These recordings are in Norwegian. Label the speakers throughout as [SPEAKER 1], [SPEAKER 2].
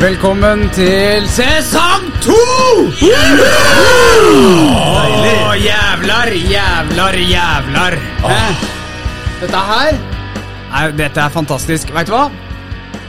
[SPEAKER 1] Velkommen til sesong to! Å, jævlar, jævlar, jævlar. Hæ? Dette her Nei, Dette er fantastisk. Veit du hva?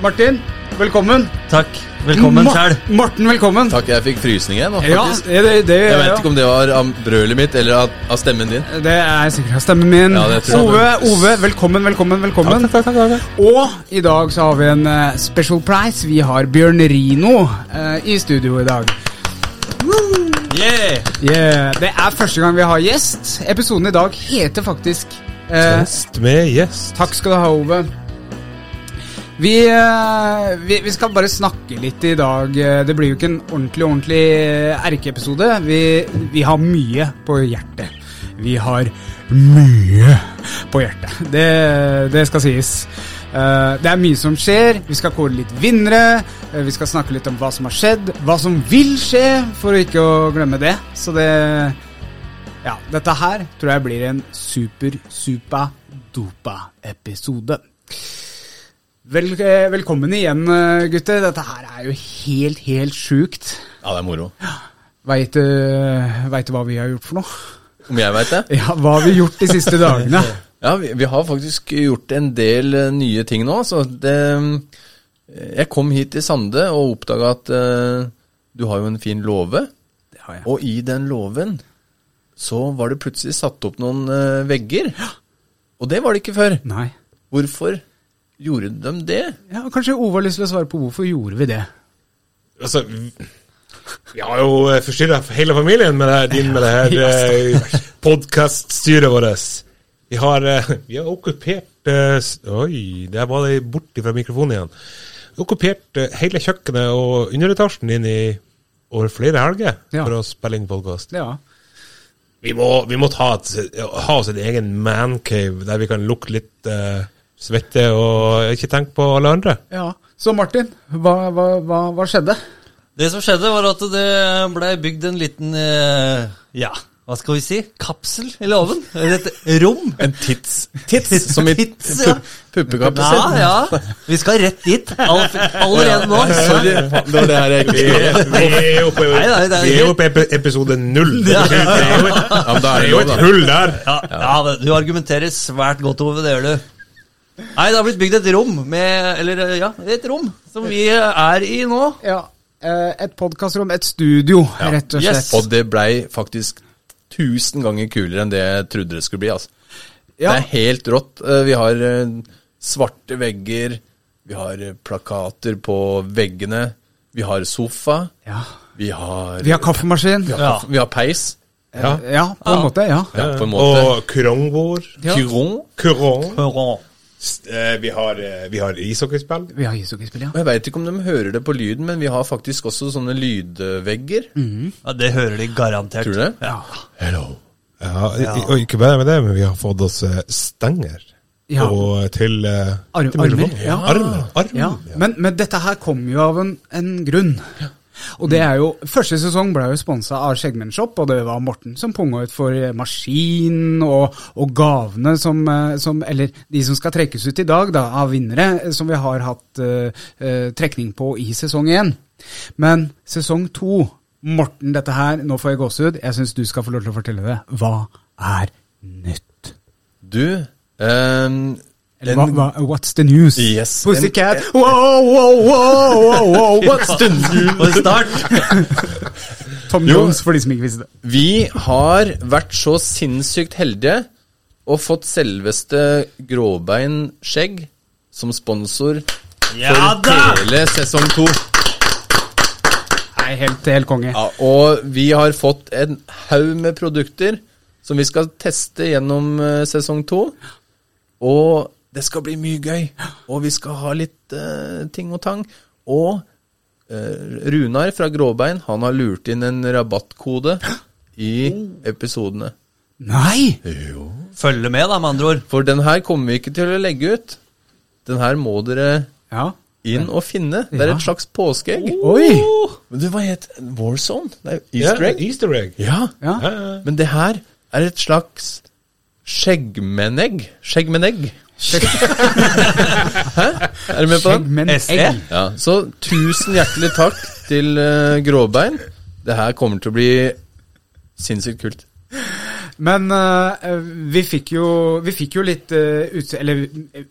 [SPEAKER 1] Martin, velkommen.
[SPEAKER 2] Takk. Velkommen
[SPEAKER 1] Ma-
[SPEAKER 2] sjæl.
[SPEAKER 1] Marten, velkommen.
[SPEAKER 3] Takk, jeg fikk frysning igjen, nå,
[SPEAKER 1] Ja,
[SPEAKER 3] faktisk.
[SPEAKER 1] det, det, det,
[SPEAKER 3] Jeg vet ikke om det var av brølet mitt eller av, av stemmen din.
[SPEAKER 1] det er sikkert av stemmen min.
[SPEAKER 3] Ja, det tror jeg.
[SPEAKER 1] Ove, Ove, velkommen, velkommen, velkommen. Og i dag så har vi en eh, special prize. Vi har Bjørn Rino eh, i studio i dag.
[SPEAKER 2] Yeah.
[SPEAKER 1] Yeah. Det er første gang vi har gjest. Episoden i dag heter faktisk eh,
[SPEAKER 2] Gjest med gjest.
[SPEAKER 1] Takk skal du ha, Ove. Vi, eh, vi, vi skal bare snakke litt i dag. Eh, Det blir jo ikke en ordentlig ordentlig eh, erkeepisode. Vi, vi har mye på hjertet. Vi har mye på hjertet. Det, det skal sies. Eh, Det er mye som skjer. Vi skal kåre litt vinnere. Eh, Vi skal snakke litt om hva som har skjedd, hva som vil skje, for ikke å glemme det. Så det ja, dette her tror jeg blir en super, super, dopa episode. Vel, eh, velkommen igjen, eh, gutter. Dette her er jo helt, helt sjukt.
[SPEAKER 3] Ja, det er moro.
[SPEAKER 1] Veit du vet du hva vi har gjort for noe?
[SPEAKER 3] Om jeg veit det?
[SPEAKER 1] Ja, hva har vi gjort de siste dagene?
[SPEAKER 3] Ja, vi, vi har faktisk gjort en del eh, nye ting nå, så det eh, Jeg kom hit til Sande og oppdaga at eh, du har jo en fin låve,
[SPEAKER 1] Det har
[SPEAKER 3] og i den låven så var det plutselig satt opp noen eh, vegger. Og det var det ikke før.
[SPEAKER 1] Nei.
[SPEAKER 3] Hvorfor gjorde de det?
[SPEAKER 1] Ja, kanskje Ove har lyst til å svare på hvorfor gjorde vi det?
[SPEAKER 2] Altså, vi- vi har jo forstyrra hele familien med det her, din med det her podkaststyret vårt. Vi har, eh, vi har okkupert eh, s- Oi, der var det bort fra mikrofonen igjen. Vi har Okkupert eh, hele kjøkkenet og underetasjen din i over flere helger
[SPEAKER 1] Ja.
[SPEAKER 2] for å spille inn podkast.
[SPEAKER 1] Ja.
[SPEAKER 2] Vi må, vi må ta et, ha oss en egen mancave der vi kan lukte litt eh, svette og ikke tenke på alle andre.
[SPEAKER 1] ja. Så Martin, hva, hva, hva, hva skjedde?
[SPEAKER 4] Det som skjedde, var at det blei bygd en liten eh, Ja, hva skal vi si? Kapsel i låven? Eller et rom?
[SPEAKER 3] En tits. Tits, som i
[SPEAKER 4] Tits, ja.
[SPEAKER 3] pu- puppekappesett.
[SPEAKER 4] Ja, ja. Vi skal rett dit. All, allerede nå.
[SPEAKER 3] Sorry, faen, det var det her jeg
[SPEAKER 2] Vi
[SPEAKER 3] ikke
[SPEAKER 2] er vi er jo på,
[SPEAKER 4] Nei, nei, det er
[SPEAKER 2] vi er jo på epi- episode null. Det
[SPEAKER 4] Ja.
[SPEAKER 2] betyr- det er jo et-
[SPEAKER 3] Ja, men da
[SPEAKER 2] det
[SPEAKER 3] er
[SPEAKER 2] er
[SPEAKER 3] det
[SPEAKER 2] jo
[SPEAKER 3] lov,
[SPEAKER 2] et
[SPEAKER 3] da.
[SPEAKER 2] hull der.
[SPEAKER 4] Ja, ja, det- du argumenterer svært godt, Ove. Det gjør du. Nei, det har blitt bygd et rom med Eller eh, ja, et rom som vi er i nå.
[SPEAKER 1] Ja, eh, Et podkastrom, et studio, rett og slett.
[SPEAKER 4] Yes.
[SPEAKER 3] Og det blei faktisk tusen ganger kulere enn det jeg trodde det skulle bli. Altså.
[SPEAKER 1] Ja.
[SPEAKER 3] Det er helt rått. Eh, Vi har eh, svarte vegger, vi har eh, plakater på veggene, vi har sofa,
[SPEAKER 1] Ja.
[SPEAKER 3] vi har,
[SPEAKER 1] Vi har kaffemaskin.
[SPEAKER 3] vi har, vi har peis.
[SPEAKER 1] Ja, på en måte. ja.
[SPEAKER 3] Ja, på en måte.
[SPEAKER 2] Eh, Og krongbord.
[SPEAKER 1] Ja.
[SPEAKER 3] Kyron.
[SPEAKER 2] Krong.
[SPEAKER 4] Hurra.
[SPEAKER 2] S- eh, Vi har, eh, vi har ishockeyspill.
[SPEAKER 1] Vi har ishockeyspill, ja.
[SPEAKER 3] Og jeg veit ikke om de hører det på lyden, men vi har faktisk også sånne lydvegger.
[SPEAKER 4] Ja, det hører de garantert.
[SPEAKER 3] Tror du det?
[SPEAKER 4] Ja.
[SPEAKER 2] Hello. Ja, i- i- og ikke bare med det, men vi har fått oss eh, stenger.
[SPEAKER 1] Ja.
[SPEAKER 2] Og til, eh,
[SPEAKER 1] Arm-
[SPEAKER 2] til mikrofonen.
[SPEAKER 1] armer, ja.
[SPEAKER 2] Armer. armer,
[SPEAKER 1] ja. Men, men dette her kommer jo av en, en grunn. Og det er jo, Første sesong ble jo sponsa av Skjeggmenn Shop, og det var Morten som punga ut for eh, maskin og, og gavene som, eh, som Eller de som skal trekkes ut i dag, da, av vinnere, eh, som vi har hatt eh, eh, trekning på i sesong én. Men sesong to, Morten, dette her, nå får jeg gåsehud. Jeg syns du skal få lov til å fortelle det. Hva er nytt?
[SPEAKER 3] Du ehm,
[SPEAKER 1] Eller
[SPEAKER 3] en-
[SPEAKER 1] hva, hva, what's the news?
[SPEAKER 3] Yes.
[SPEAKER 1] Pussycat. Wow, wow, wow, wow, wow, what's the
[SPEAKER 4] Og start.
[SPEAKER 1] Tom
[SPEAKER 3] Jo.
[SPEAKER 1] Jones, for de som ikke visste det.
[SPEAKER 3] Vi har vært så sinnssykt heldige og fått selveste Gråbein Skjegg som sponsor
[SPEAKER 4] Ja
[SPEAKER 3] for
[SPEAKER 4] da!
[SPEAKER 3] hele sesong to.
[SPEAKER 1] Nei, helt, helt konge.
[SPEAKER 3] Ja, og vi har fått en haug med produkter som vi skal teste gjennom eh, sesong to. Og det skal bli mye gøy. Og vi skal ha litt eh, ting og tang. Og eh,
[SPEAKER 4] Oh.
[SPEAKER 3] Runar fra Gråbein, han har lurt inn en rabattkode i episodene.
[SPEAKER 1] Nei!
[SPEAKER 4] Følge med, da, med andre ord.
[SPEAKER 3] For den her kommer vi ikke til å legge ut. Den her må dere
[SPEAKER 1] Ja.
[SPEAKER 3] inn og finne. Det er
[SPEAKER 1] Ja. Oh!
[SPEAKER 3] et slags påskeegg.
[SPEAKER 1] Oi!
[SPEAKER 3] Men du, hva het Warzone? Det er
[SPEAKER 2] Ja,
[SPEAKER 3] jo Easter egg?
[SPEAKER 2] Easter egg.
[SPEAKER 3] Ja.
[SPEAKER 1] Ja.
[SPEAKER 2] Ja, ja.
[SPEAKER 3] Men det her er et slags skjeggmenegg. Skjeggmenegg. Hæ? Er du E? med på den?
[SPEAKER 1] Skjeggmenn
[SPEAKER 4] SE?
[SPEAKER 1] egg.
[SPEAKER 3] Ja, så tusen hjertelig takk til eh, Gråbein. Det her kommer til å bli sinnssykt kult.
[SPEAKER 1] Men eh, vi fikk jo, vi fikk jo litt uh, utse... Eller eh,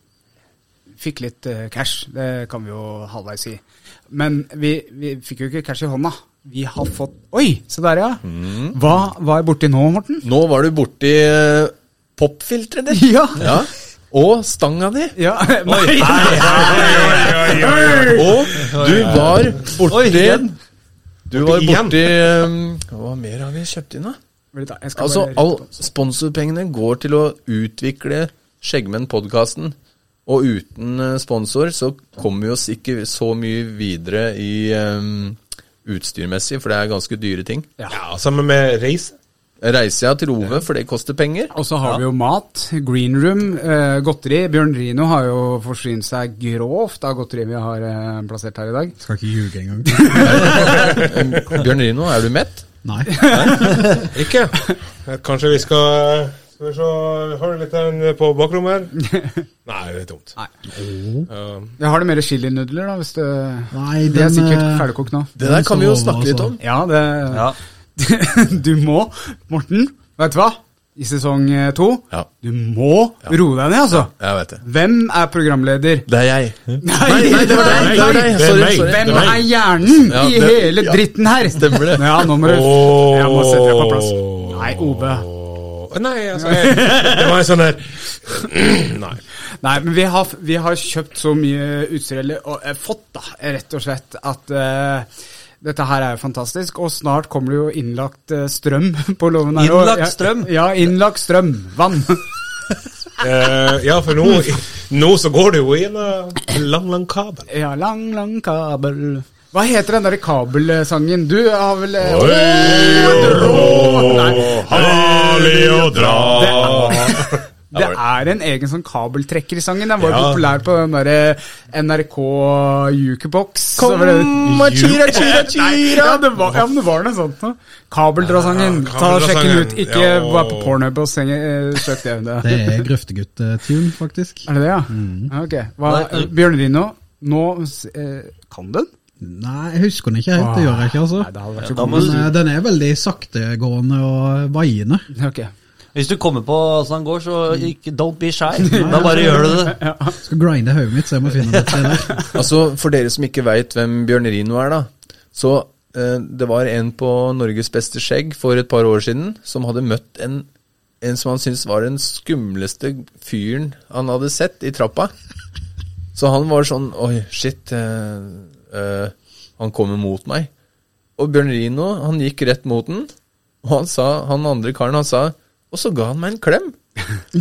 [SPEAKER 1] fikk litt eh, cash, det kan vi jo halvveis si. Men vi, vi fikk jo ikke cash i hånda. Vi har fått Oi, se der, ja.
[SPEAKER 3] Mm.
[SPEAKER 1] Hva var jeg borti nå, Morten?
[SPEAKER 3] Nå var du borti eh, popfilteret ditt.
[SPEAKER 1] Ja!
[SPEAKER 3] Ja. Og stanga di.
[SPEAKER 1] ja. Nei.
[SPEAKER 3] Og du var
[SPEAKER 4] Oi,
[SPEAKER 3] borti
[SPEAKER 4] igjen.
[SPEAKER 3] Du var
[SPEAKER 2] igjen.
[SPEAKER 3] borti eh, Hva mer har vi kjøpt inn, da?
[SPEAKER 1] Vent da, jeg skal
[SPEAKER 3] Altså,
[SPEAKER 1] bare-
[SPEAKER 3] all sponsorpengene går til å utvikle Skjeggmenn-podkasten. Og uten eh, sponsor så kommer vi oss ikke så mye videre i eh, utstyrmessig, for det er ganske dyre ting.
[SPEAKER 2] Ja, sammen med reise.
[SPEAKER 3] Reiser jeg til Ove, for det koster penger.
[SPEAKER 1] Og så har vi jo mat, green room, eh, godteri. Bjørn Rino har jo forsynt seg grovt av godteri vi har eh, plassert her i dag.
[SPEAKER 5] Skal ikke ljuge engang.
[SPEAKER 3] Bjørn Rino, er du mett?
[SPEAKER 5] Nei.
[SPEAKER 2] Ikke? Kanskje vi skal Skal vi se Har du litt her på bakrommet her? Nei, det er tomt. Um,
[SPEAKER 1] Jeg har det mer chilinudler, da, hvis det
[SPEAKER 5] Nei,
[SPEAKER 1] Det er
[SPEAKER 5] den,
[SPEAKER 1] sikkert
[SPEAKER 5] eh,
[SPEAKER 1] ferdigkokt nå.
[SPEAKER 3] Det der kan vi jo snakke litt om.
[SPEAKER 1] Ja, det
[SPEAKER 4] Ja.
[SPEAKER 1] Du må, Morten, vet du hva? I sesong eh, to,
[SPEAKER 3] Ja.
[SPEAKER 1] du må roe deg ned, altså.
[SPEAKER 3] Jeg vet det.
[SPEAKER 1] Hvem er programleder?
[SPEAKER 3] Det er jeg.
[SPEAKER 1] Nei,
[SPEAKER 3] det var deg! Det var
[SPEAKER 2] Det
[SPEAKER 3] deg.
[SPEAKER 2] er
[SPEAKER 3] Sorry.
[SPEAKER 2] meg.
[SPEAKER 3] sorry.
[SPEAKER 1] Hvem
[SPEAKER 2] Det er meg.
[SPEAKER 1] er hjernen
[SPEAKER 3] Ja,
[SPEAKER 1] i
[SPEAKER 3] det-
[SPEAKER 1] hele
[SPEAKER 3] ja.
[SPEAKER 1] dritten her?
[SPEAKER 3] Stemmer det.
[SPEAKER 1] Ja, nå må du Jeg må sette deg på plass.
[SPEAKER 2] Åh.
[SPEAKER 1] Nei, Ove.
[SPEAKER 2] Å, Nei, altså jeg, Det var en sånn der Nei.
[SPEAKER 1] Nei, men vi har, vi har kjøpt så mye utstyr, eller og, eh, fått da, rett og slett, at eh, dette her er jo fantastisk. Og snart kommer det jo innlagt eh, strøm på låven her. og-
[SPEAKER 4] Innlagt
[SPEAKER 1] ja,
[SPEAKER 4] strøm?
[SPEAKER 1] Ja, innlagt strøm. Vann.
[SPEAKER 2] Eh, ja, for nå, nå så går det jo i en eh, lang, lang kabel.
[SPEAKER 1] Ja, lang, lang kabel. Hva heter den derre kabelsangen? Du har vel eh, Nei,
[SPEAKER 2] Harlig å dra
[SPEAKER 1] Det er en egen sånn kabeltrekkersangen. Den var jo
[SPEAKER 2] Ja.
[SPEAKER 1] populær på den eh, derre NRK Jukebox.
[SPEAKER 3] Kom, Chira, chira, chira.
[SPEAKER 1] Ja, det var, ja, men det var noe sånt nå. Kabeldrasangen.
[SPEAKER 2] Ja,
[SPEAKER 1] Ta og Sjekk den ut.
[SPEAKER 2] kabeldrasangen.
[SPEAKER 1] Ikke
[SPEAKER 2] Ja.
[SPEAKER 1] vær på pornhub og seng- eh, søk det.
[SPEAKER 5] Det
[SPEAKER 1] det.
[SPEAKER 5] er grøftegutt-tune, faktisk.
[SPEAKER 1] Er det det, ja? Ja, Ok. Hva,
[SPEAKER 4] Nei, eh,
[SPEAKER 1] Bjørn Rino, nå s- eh, Kan den?
[SPEAKER 5] Nei, jeg husker den ikke helt. Det gjør jeg ikke,
[SPEAKER 1] Nei, det
[SPEAKER 5] altså.
[SPEAKER 1] hadde vært så
[SPEAKER 4] da
[SPEAKER 1] god.
[SPEAKER 4] må
[SPEAKER 5] Men eh, den er veldig saktegående og vaiende.
[SPEAKER 1] Ok.
[SPEAKER 4] Hvis du kommer på åssen han går, så ikke, don't be shy. Da bare gjør du det.
[SPEAKER 5] Skal grinde hodet mitt, så jeg må finne et sted der.
[SPEAKER 3] Altså, For dere som ikke veit hvem Bjørn Rino er, da. Så eh, det var en på Norges beste skjegg for et par år siden som hadde møtt en, en som han syntes var den skumleste fyren han hadde sett i trappa. Så han var sånn Oi, shit. eh, eh, han kommer mot meg. Og Bjørn Rino, han gikk rett mot den, og han sa, han andre karen, han sa Og så ga han meg en klem!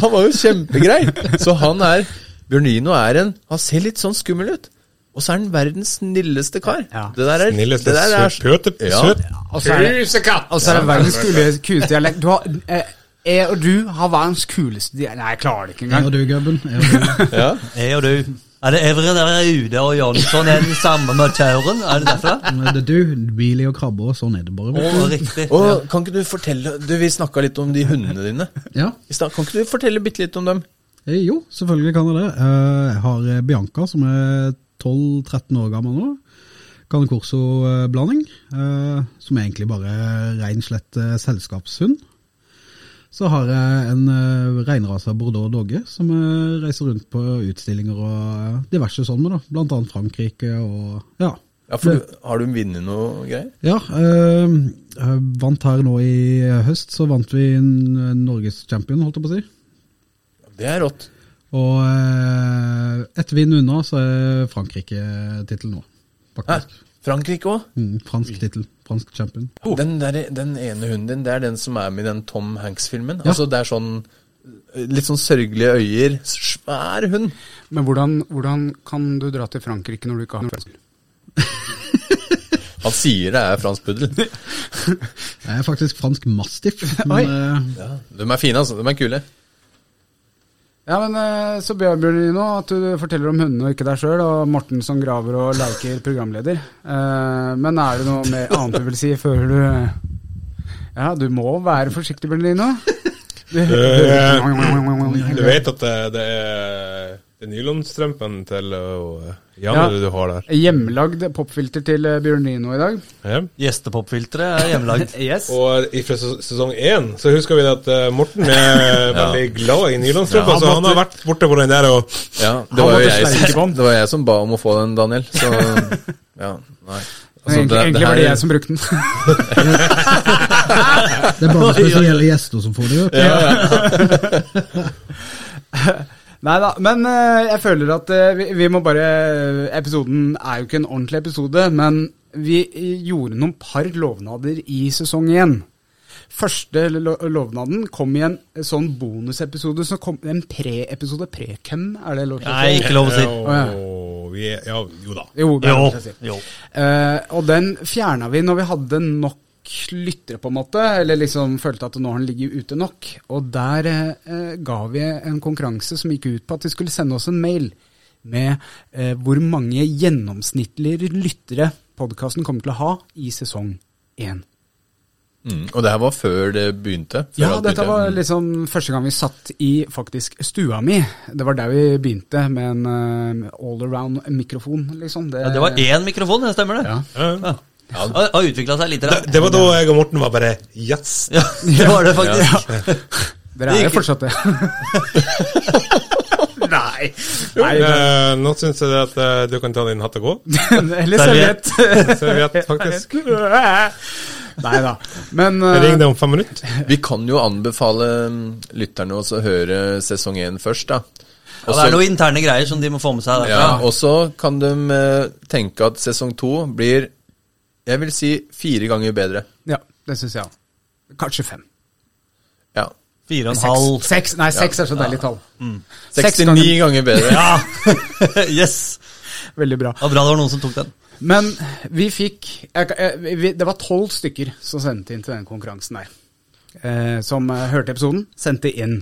[SPEAKER 3] Han var jo kjempegrei! Så han er Bjørn Rino er en Han ser litt sånn skummel ut. Og så er han verdens snilleste kar.
[SPEAKER 1] Ja.
[SPEAKER 3] Det der er
[SPEAKER 2] Snilleste
[SPEAKER 3] det der er-
[SPEAKER 2] søt
[SPEAKER 3] ja.
[SPEAKER 2] søt
[SPEAKER 1] Og så er det-
[SPEAKER 2] pusekatt.
[SPEAKER 1] Og så er det verdens kuleste, kuleste dialekt. Du har, eh, jeg og du har verdens kuleste dialekt. Nei, jeg klarer det ikke
[SPEAKER 5] Jeg
[SPEAKER 1] engang.
[SPEAKER 5] og du, gubben. Jeg og du.
[SPEAKER 3] Ja.
[SPEAKER 4] Jeg og du. Er det Evre der er ute, og Jansson er den samme matøren? Er det derfor?
[SPEAKER 5] Men Det er du, Billy og krabbe, og sånn er det bare.
[SPEAKER 4] Å,
[SPEAKER 5] vet du.
[SPEAKER 4] riktig.
[SPEAKER 3] Og kan ikke du fortelle Du, vi snakka litt om de hundene dine.
[SPEAKER 5] Ja,
[SPEAKER 3] I stad. Kan ikke du fortelle bitte litt om dem?
[SPEAKER 5] Eh, Jo, selvfølgelig kan jeg det. Eh, Jeg har eh, Bianca, som er 12-13 år gammel nå. Cane Corso-blanding, eh, som er egentlig bare rein slett eh, selskapshund. Så har jeg en eh, reinrasa bordeaux dogge, som eh, reiser rundt på utstillinger og eh, diverse sånne, da. Blant annet Frankrike og ja.
[SPEAKER 3] Ja, for du, Har du vunnet noe greier?
[SPEAKER 5] Ja, eh, jeg vant her nå i høst, så vant vi en norgeschampion, holdt jeg på å si.
[SPEAKER 3] Det er rått.
[SPEAKER 5] Og eh, ett vinn unna, så er Frankrike-tittel nå,
[SPEAKER 3] Hæ?
[SPEAKER 5] faktisk.
[SPEAKER 3] Frankrike òg?
[SPEAKER 5] Mm, fransk tittel. Fransk champion.
[SPEAKER 1] Oh.
[SPEAKER 3] Den, der, den ene hunden din, det er den som er med i den Tom Hanks-filmen.
[SPEAKER 5] Ja.
[SPEAKER 3] Altså, det er sånn Litt sånn sørgelige øyer. Svær hund.
[SPEAKER 1] Men hvordan, hvordan kan du dra til Frankrike når du ikke har fransk?
[SPEAKER 3] Han sier det er fransk puddel.
[SPEAKER 5] Jeg er faktisk fransk mastiff.
[SPEAKER 1] Oi.
[SPEAKER 5] Men eh,
[SPEAKER 3] De er fine, altså. De er kule.
[SPEAKER 1] Ja, men eh, så ber jeg deg nå at du forteller om hundene og ikke deg sjøl, og Morten som graver og leker programleder. Eh, Men er det noe mer annet du vil si før du eh? Ja, du må være forsiktig, Berlino. Du,
[SPEAKER 2] Eh, Du vet at det, det er det er nylonstrømpen til uh, Janne
[SPEAKER 1] Ja.
[SPEAKER 2] du har der.
[SPEAKER 1] Hjemmelagd popfilter til eh, Bjørnino i dag.
[SPEAKER 2] Ja.
[SPEAKER 4] Gjestepopfilteret er hjemmelagd.
[SPEAKER 1] Yes.
[SPEAKER 2] Og fra sesong én så husker vi at eh, Morten er veldig glad i nylonstrømpa,
[SPEAKER 1] Ja, han
[SPEAKER 2] så han har vært borte på den der og
[SPEAKER 3] Ja, det
[SPEAKER 1] Han
[SPEAKER 3] var,
[SPEAKER 1] måtte
[SPEAKER 3] jo jeg,
[SPEAKER 1] sverge på
[SPEAKER 3] som,
[SPEAKER 1] han.
[SPEAKER 3] det var jeg som ba om å få den, Daniel. Så ja, nei. Altså,
[SPEAKER 1] egentlig, egentlig var det jeg som brukte den.
[SPEAKER 5] det er bare spesielle gjester som får det. vet du.
[SPEAKER 1] Nei da, men eh, jeg føler at eh, vi, vi må bare eh, Episoden er jo ikke en ordentlig episode, men vi eh, gjorde noen par lovnader i sesong én. Første lo lovnaden kom i en sånn bonusepisode, som kom, en pre-episode. Pre-cam, er det lov til å
[SPEAKER 4] Nei,
[SPEAKER 1] si?
[SPEAKER 4] ikke lov å si.
[SPEAKER 2] Eh, Og vi er, ja, jo da.
[SPEAKER 1] Jo, det er
[SPEAKER 4] Jo.
[SPEAKER 1] lov til å si.
[SPEAKER 4] jo.
[SPEAKER 1] Eh, og den fjerna vi når vi hadde nok lyttere, på en måte. Eller liksom følte at nå har den ligget ute nok. Og der eh, ga vi en konkurranse som gikk ut på at de skulle sende oss en mail med eh, hvor mange gjennomsnittlige lyttere podkasten kommer til å ha i sesong én.
[SPEAKER 3] Mm. Og det her var før det begynte? Før
[SPEAKER 1] Ja,
[SPEAKER 3] alt
[SPEAKER 1] dette
[SPEAKER 3] begynte.
[SPEAKER 1] var liksom første gang vi satt i faktisk stua mi. Det var der vi begynte med en eh, all around-mikrofon, liksom.
[SPEAKER 4] Ja, det var én mikrofon, det stemmer det?
[SPEAKER 1] Ja.
[SPEAKER 4] Ja. Har- Har utvikla seg litt.
[SPEAKER 2] Det,
[SPEAKER 4] da.
[SPEAKER 2] det var da jeg og Morten var bare yes.
[SPEAKER 4] Ja, det var det faktisk.
[SPEAKER 1] Dere er jo fortsatt det. Nei. Nei
[SPEAKER 2] Eh, nå syns jeg det at eh, du kan ta din hatt og gå.
[SPEAKER 1] men, eller serviett.
[SPEAKER 2] Serviett, faktisk.
[SPEAKER 1] Nei da. Men
[SPEAKER 2] Jeg ringer
[SPEAKER 1] eh,
[SPEAKER 2] deg om fem minutter.
[SPEAKER 3] Vi kan jo anbefale mm, lytterne også å høre sesong én først, da.
[SPEAKER 4] Ja, det er noen interne greier som de må få med seg derfra.
[SPEAKER 3] Ja, og så kan de eh, tenke at sesong to blir, jeg vil si, fire ganger bedre.
[SPEAKER 1] Ja, det syns jeg òg. Kanskje fem.
[SPEAKER 3] Ja.
[SPEAKER 4] Fire og en
[SPEAKER 1] Seks.
[SPEAKER 4] halv. Mm.
[SPEAKER 1] Seks. Nei, seks er så deilig tall. Seks
[SPEAKER 3] 69
[SPEAKER 1] ganger.
[SPEAKER 3] ganger bedre.
[SPEAKER 4] Ja! yes!
[SPEAKER 1] Veldig bra.
[SPEAKER 4] Det var bra det var noen som tok den.
[SPEAKER 1] Men vi fikk jeg, kan- eh, vi, Det var tolv stykker som sendte inn til den konkurransen der. Eh, som eh, hørte episoden, sendte inn.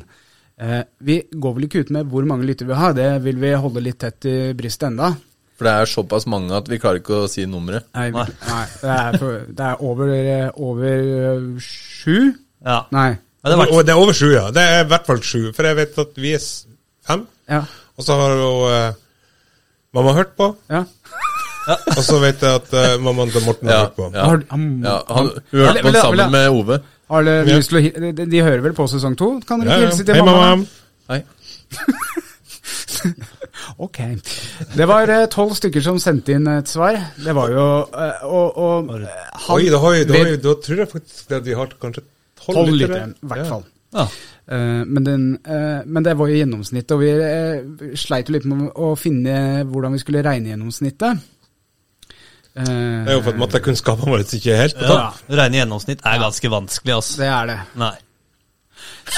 [SPEAKER 1] Eh, vi går vel ikke ut med hvor mange lyttere vi har, det vil vi holde litt tett i brystet enda.
[SPEAKER 3] For det er såpass mange at vi klarer ikke å si nummeret.
[SPEAKER 1] Nei, vi-
[SPEAKER 4] Nei.
[SPEAKER 1] nei det, er for, det er over, eh, over eh, sju?
[SPEAKER 4] Ja.
[SPEAKER 1] Nei.
[SPEAKER 4] Ja, det var
[SPEAKER 2] Og det er over sju, ja. Det er i hvert fall sju. For jeg vet at vi er s- fem,
[SPEAKER 1] Ja.
[SPEAKER 2] og så har jo eh, mamma hørt på.
[SPEAKER 1] ja.
[SPEAKER 2] Og så vet jeg at eh, mammaen til Morten har
[SPEAKER 3] Ja,
[SPEAKER 2] hørt på.
[SPEAKER 3] ja.
[SPEAKER 1] Har, han-
[SPEAKER 3] Ja, han
[SPEAKER 1] Eller-
[SPEAKER 3] hørte på
[SPEAKER 1] eller-
[SPEAKER 3] den sammen med Ove.
[SPEAKER 1] har dere
[SPEAKER 2] Ja.
[SPEAKER 1] lyst til å hi- de, de hører vel på sesong to? Kan dere
[SPEAKER 2] Ja,
[SPEAKER 1] ikke
[SPEAKER 2] ja.
[SPEAKER 1] hilse til
[SPEAKER 2] Hei,
[SPEAKER 1] mamma?
[SPEAKER 2] mamma.
[SPEAKER 3] Hei.
[SPEAKER 1] Ok. Det var eh, tolv stykker som sendte inn et svar. Det var jo eh, Og, og eh, han
[SPEAKER 2] Oi, da, har vi- da, har vi-
[SPEAKER 1] ved-
[SPEAKER 2] da tror jeg faktisk at vi har kanskje tolv
[SPEAKER 1] tolv
[SPEAKER 2] lyttere.
[SPEAKER 1] lyttere, i hvert
[SPEAKER 2] Ja.
[SPEAKER 1] fall.
[SPEAKER 4] Ja.
[SPEAKER 1] Eh, men, den, eh, men det var jo gjennomsnittet, og vi eh, sleit jo litt med å finne hvordan vi skulle regne gjennomsnittet. Eh,
[SPEAKER 2] Det er jo for at mattekunnskapene våre ikke er helt på
[SPEAKER 4] Ja.
[SPEAKER 2] topp.
[SPEAKER 4] Regne gjennomsnitt er ganske vanskelig, altså.
[SPEAKER 1] Det er det.
[SPEAKER 4] Nei.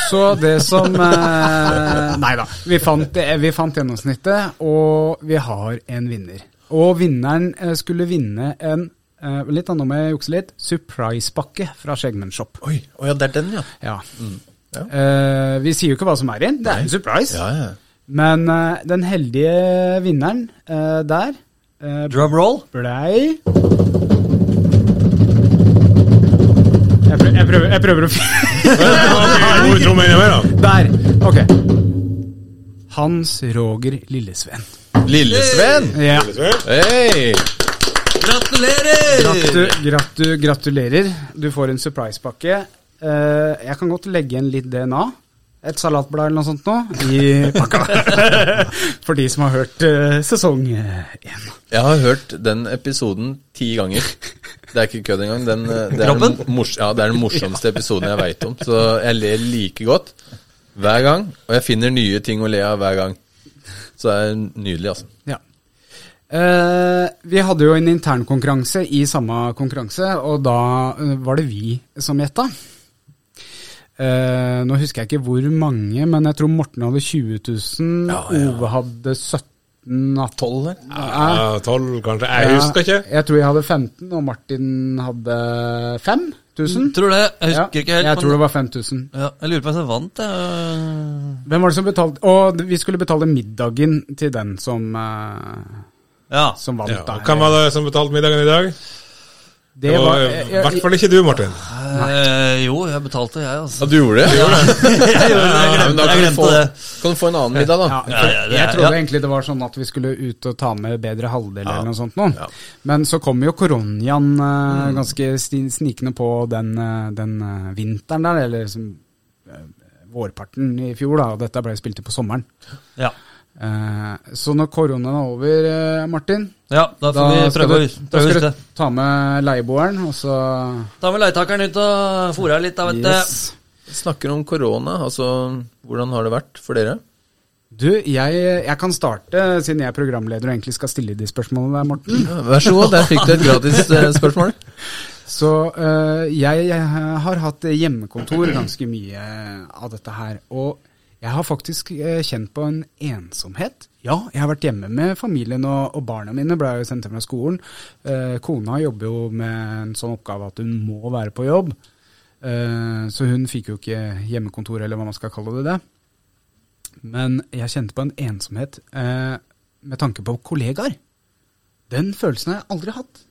[SPEAKER 1] Så det som eh, Nei da. Vi fant, det- vi fant gjennomsnittet, og vi har en vinner. Og vinneren eh, skulle vinne en eh, Litt annet må jeg jukse litt. Surprise-pakke fra Skjeggmenn Shop.
[SPEAKER 3] Oi, å ja, det er den, ja. Mm.
[SPEAKER 1] Ja.
[SPEAKER 3] ja.
[SPEAKER 1] Eh, vi sier jo ikke hva som er i den. Det er en surprise.
[SPEAKER 3] Ja, ja.
[SPEAKER 1] Men eh, den heldige vinneren eh, der eh,
[SPEAKER 4] Drum roll.
[SPEAKER 1] blei jeg prøver, jeg, prøver, jeg prøver å finne
[SPEAKER 2] Hvor er trommene mer, da?
[SPEAKER 1] Der! Ok. Hans Roger Lillesven.
[SPEAKER 3] Lillesven!
[SPEAKER 1] Ja.
[SPEAKER 3] Hei!
[SPEAKER 4] Gratulerer!
[SPEAKER 1] Gratu, gratu, gratulerer. Du får en surprise-pakke. Eh, jeg kan godt legge igjen litt DNA. Et salatblad eller noe sånt nå i pakka. For de som har hørt eh, sesong én.
[SPEAKER 3] Jeg har hørt den episoden ti ganger. Det er ikke kødd engang. Den, eh, det, er den
[SPEAKER 4] Kroppen?
[SPEAKER 3] mors ja, det er den morsomste episoden jeg veit om. Så jeg ler like godt hver gang. Og jeg finner nye ting å le av hver gang. Så det er nydelig, altså.
[SPEAKER 1] Ja. Eh, vi hadde jo en internkonkurranse i samme konkurranse, og da eh, var det vi som gjetta. Eh, nå husker jeg ikke hvor mange, men jeg tror Morten hadde 20 000,
[SPEAKER 3] Ja, ja.
[SPEAKER 1] Ove hadde 17 13
[SPEAKER 3] Tolv her.
[SPEAKER 1] ja,
[SPEAKER 2] Tolv, kanskje. Jeg husker ikke.
[SPEAKER 1] Jeg tror jeg hadde 15, og Martin hadde 5000.
[SPEAKER 4] Tror det. Jeg husker ikke helt.
[SPEAKER 1] Jeg tror
[SPEAKER 4] men-
[SPEAKER 1] det var 5000.
[SPEAKER 4] ja, jeg lurer på om jeg vant, jeg.
[SPEAKER 1] Hvem var det som betalte Og vi skulle betale middagen til den som, eh,
[SPEAKER 4] Ja.
[SPEAKER 1] som vant.
[SPEAKER 2] Ja,
[SPEAKER 1] der.
[SPEAKER 2] og hvem var det som betalte middagen i dag? Det var eh,
[SPEAKER 1] jeg-
[SPEAKER 2] i
[SPEAKER 1] jeg-
[SPEAKER 2] hvert fall ikke du, Martin.
[SPEAKER 4] Eh, jo, jeg betalte, jeg,
[SPEAKER 3] Ja,
[SPEAKER 4] altså.
[SPEAKER 3] du gjorde det?
[SPEAKER 4] Jeg, gjorde det, jeg
[SPEAKER 3] Ja, men da kan
[SPEAKER 4] glemte,
[SPEAKER 3] du
[SPEAKER 4] jeg glemte
[SPEAKER 3] få,
[SPEAKER 4] det.
[SPEAKER 3] Kan du få en annen middag, da?
[SPEAKER 1] ja,
[SPEAKER 4] Ja, ja, det er-
[SPEAKER 1] jeg trodde
[SPEAKER 4] ja.
[SPEAKER 1] egentlig det var sånn at vi skulle ut og ta med bedre halvdel eller noe sånt nå. Men så kom jo koronaen
[SPEAKER 4] Mm.
[SPEAKER 1] eh, ganske sti- snikende på den, eh, den eh, vinteren der, eller som, eh, vårparten i fjor, da, og dette ble spilt inn på sommeren.
[SPEAKER 4] Ja.
[SPEAKER 1] Eh, så når koronaen er over, eh, Martin,
[SPEAKER 4] ja, da får vi
[SPEAKER 1] skal
[SPEAKER 4] prøve å
[SPEAKER 1] du, da skal
[SPEAKER 4] prøve å huske
[SPEAKER 1] du
[SPEAKER 4] det.
[SPEAKER 1] ta med leieboeren, og så
[SPEAKER 4] Ta med leietakeren ut og fôre litt, da, vet du.
[SPEAKER 1] Yes.
[SPEAKER 3] Vi Snakker om korona, altså hvordan har det vært for dere?
[SPEAKER 1] Du, jeg, jeg kan starte, siden jeg er programleder og egentlig skal stille de spørsmålene der, Morten.
[SPEAKER 3] Ja, Vær så god, der fikk du et gratis eh, spørsmål.
[SPEAKER 1] Så eh, jeg, jeg har hatt hjemmekontor ganske mye av dette her. Og jeg har faktisk eh, kjent på en ensomhet. Ja, jeg har vært hjemme med familien, og, og barna mine ble jo sendt hjem fra skolen. Eh, kona jobber jo med en sånn oppgave at hun må være på jobb. Eh, så hun fikk jo ikke hjemmekontor, eller hva man skal kalle det. det. Men jeg kjente på en ensomhet eh, med tanke på kollegaer. Den følelsen har jeg aldri hatt.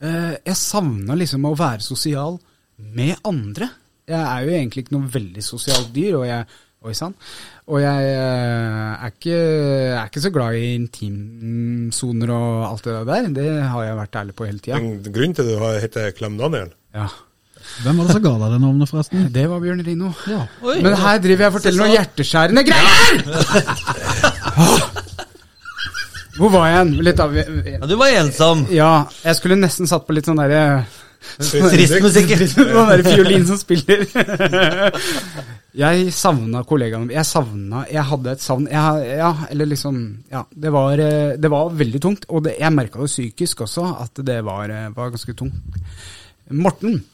[SPEAKER 1] Eh, jeg savna liksom å være sosial med andre. Jeg er jo egentlig ikke noe veldig sosialt dyr, og jeg, oi sann. Og jeg eh, er ikke, er ikke så glad i intimsoner og alt det der. Det har jeg vært ærlig på hele tida.
[SPEAKER 2] Den- den Grunnen til at du har- heter Klem Daniel?
[SPEAKER 1] Ja.
[SPEAKER 5] Hvem var det som ga deg det navnet, forresten?
[SPEAKER 1] Det var Bjørn Rino.
[SPEAKER 4] Oi.
[SPEAKER 1] Men her driver jeg og forteller noen hjerteskjærende greier! Hvor var jeg hen? Litt av
[SPEAKER 4] Ja, du var ensom.
[SPEAKER 1] Ja, jeg skulle nesten satt på litt sånn derre sånn
[SPEAKER 4] Trist musikk.
[SPEAKER 1] Noen der fiolin som spiller. jeg savna kollegaene mine. Jeg savna Jeg hadde et savn. Jeg, ja, eller liksom Ja, det var, eh, det var veldig tungt. Og det, jeg merka det psykisk også, at det var, eh, var ganske tungt. Morten,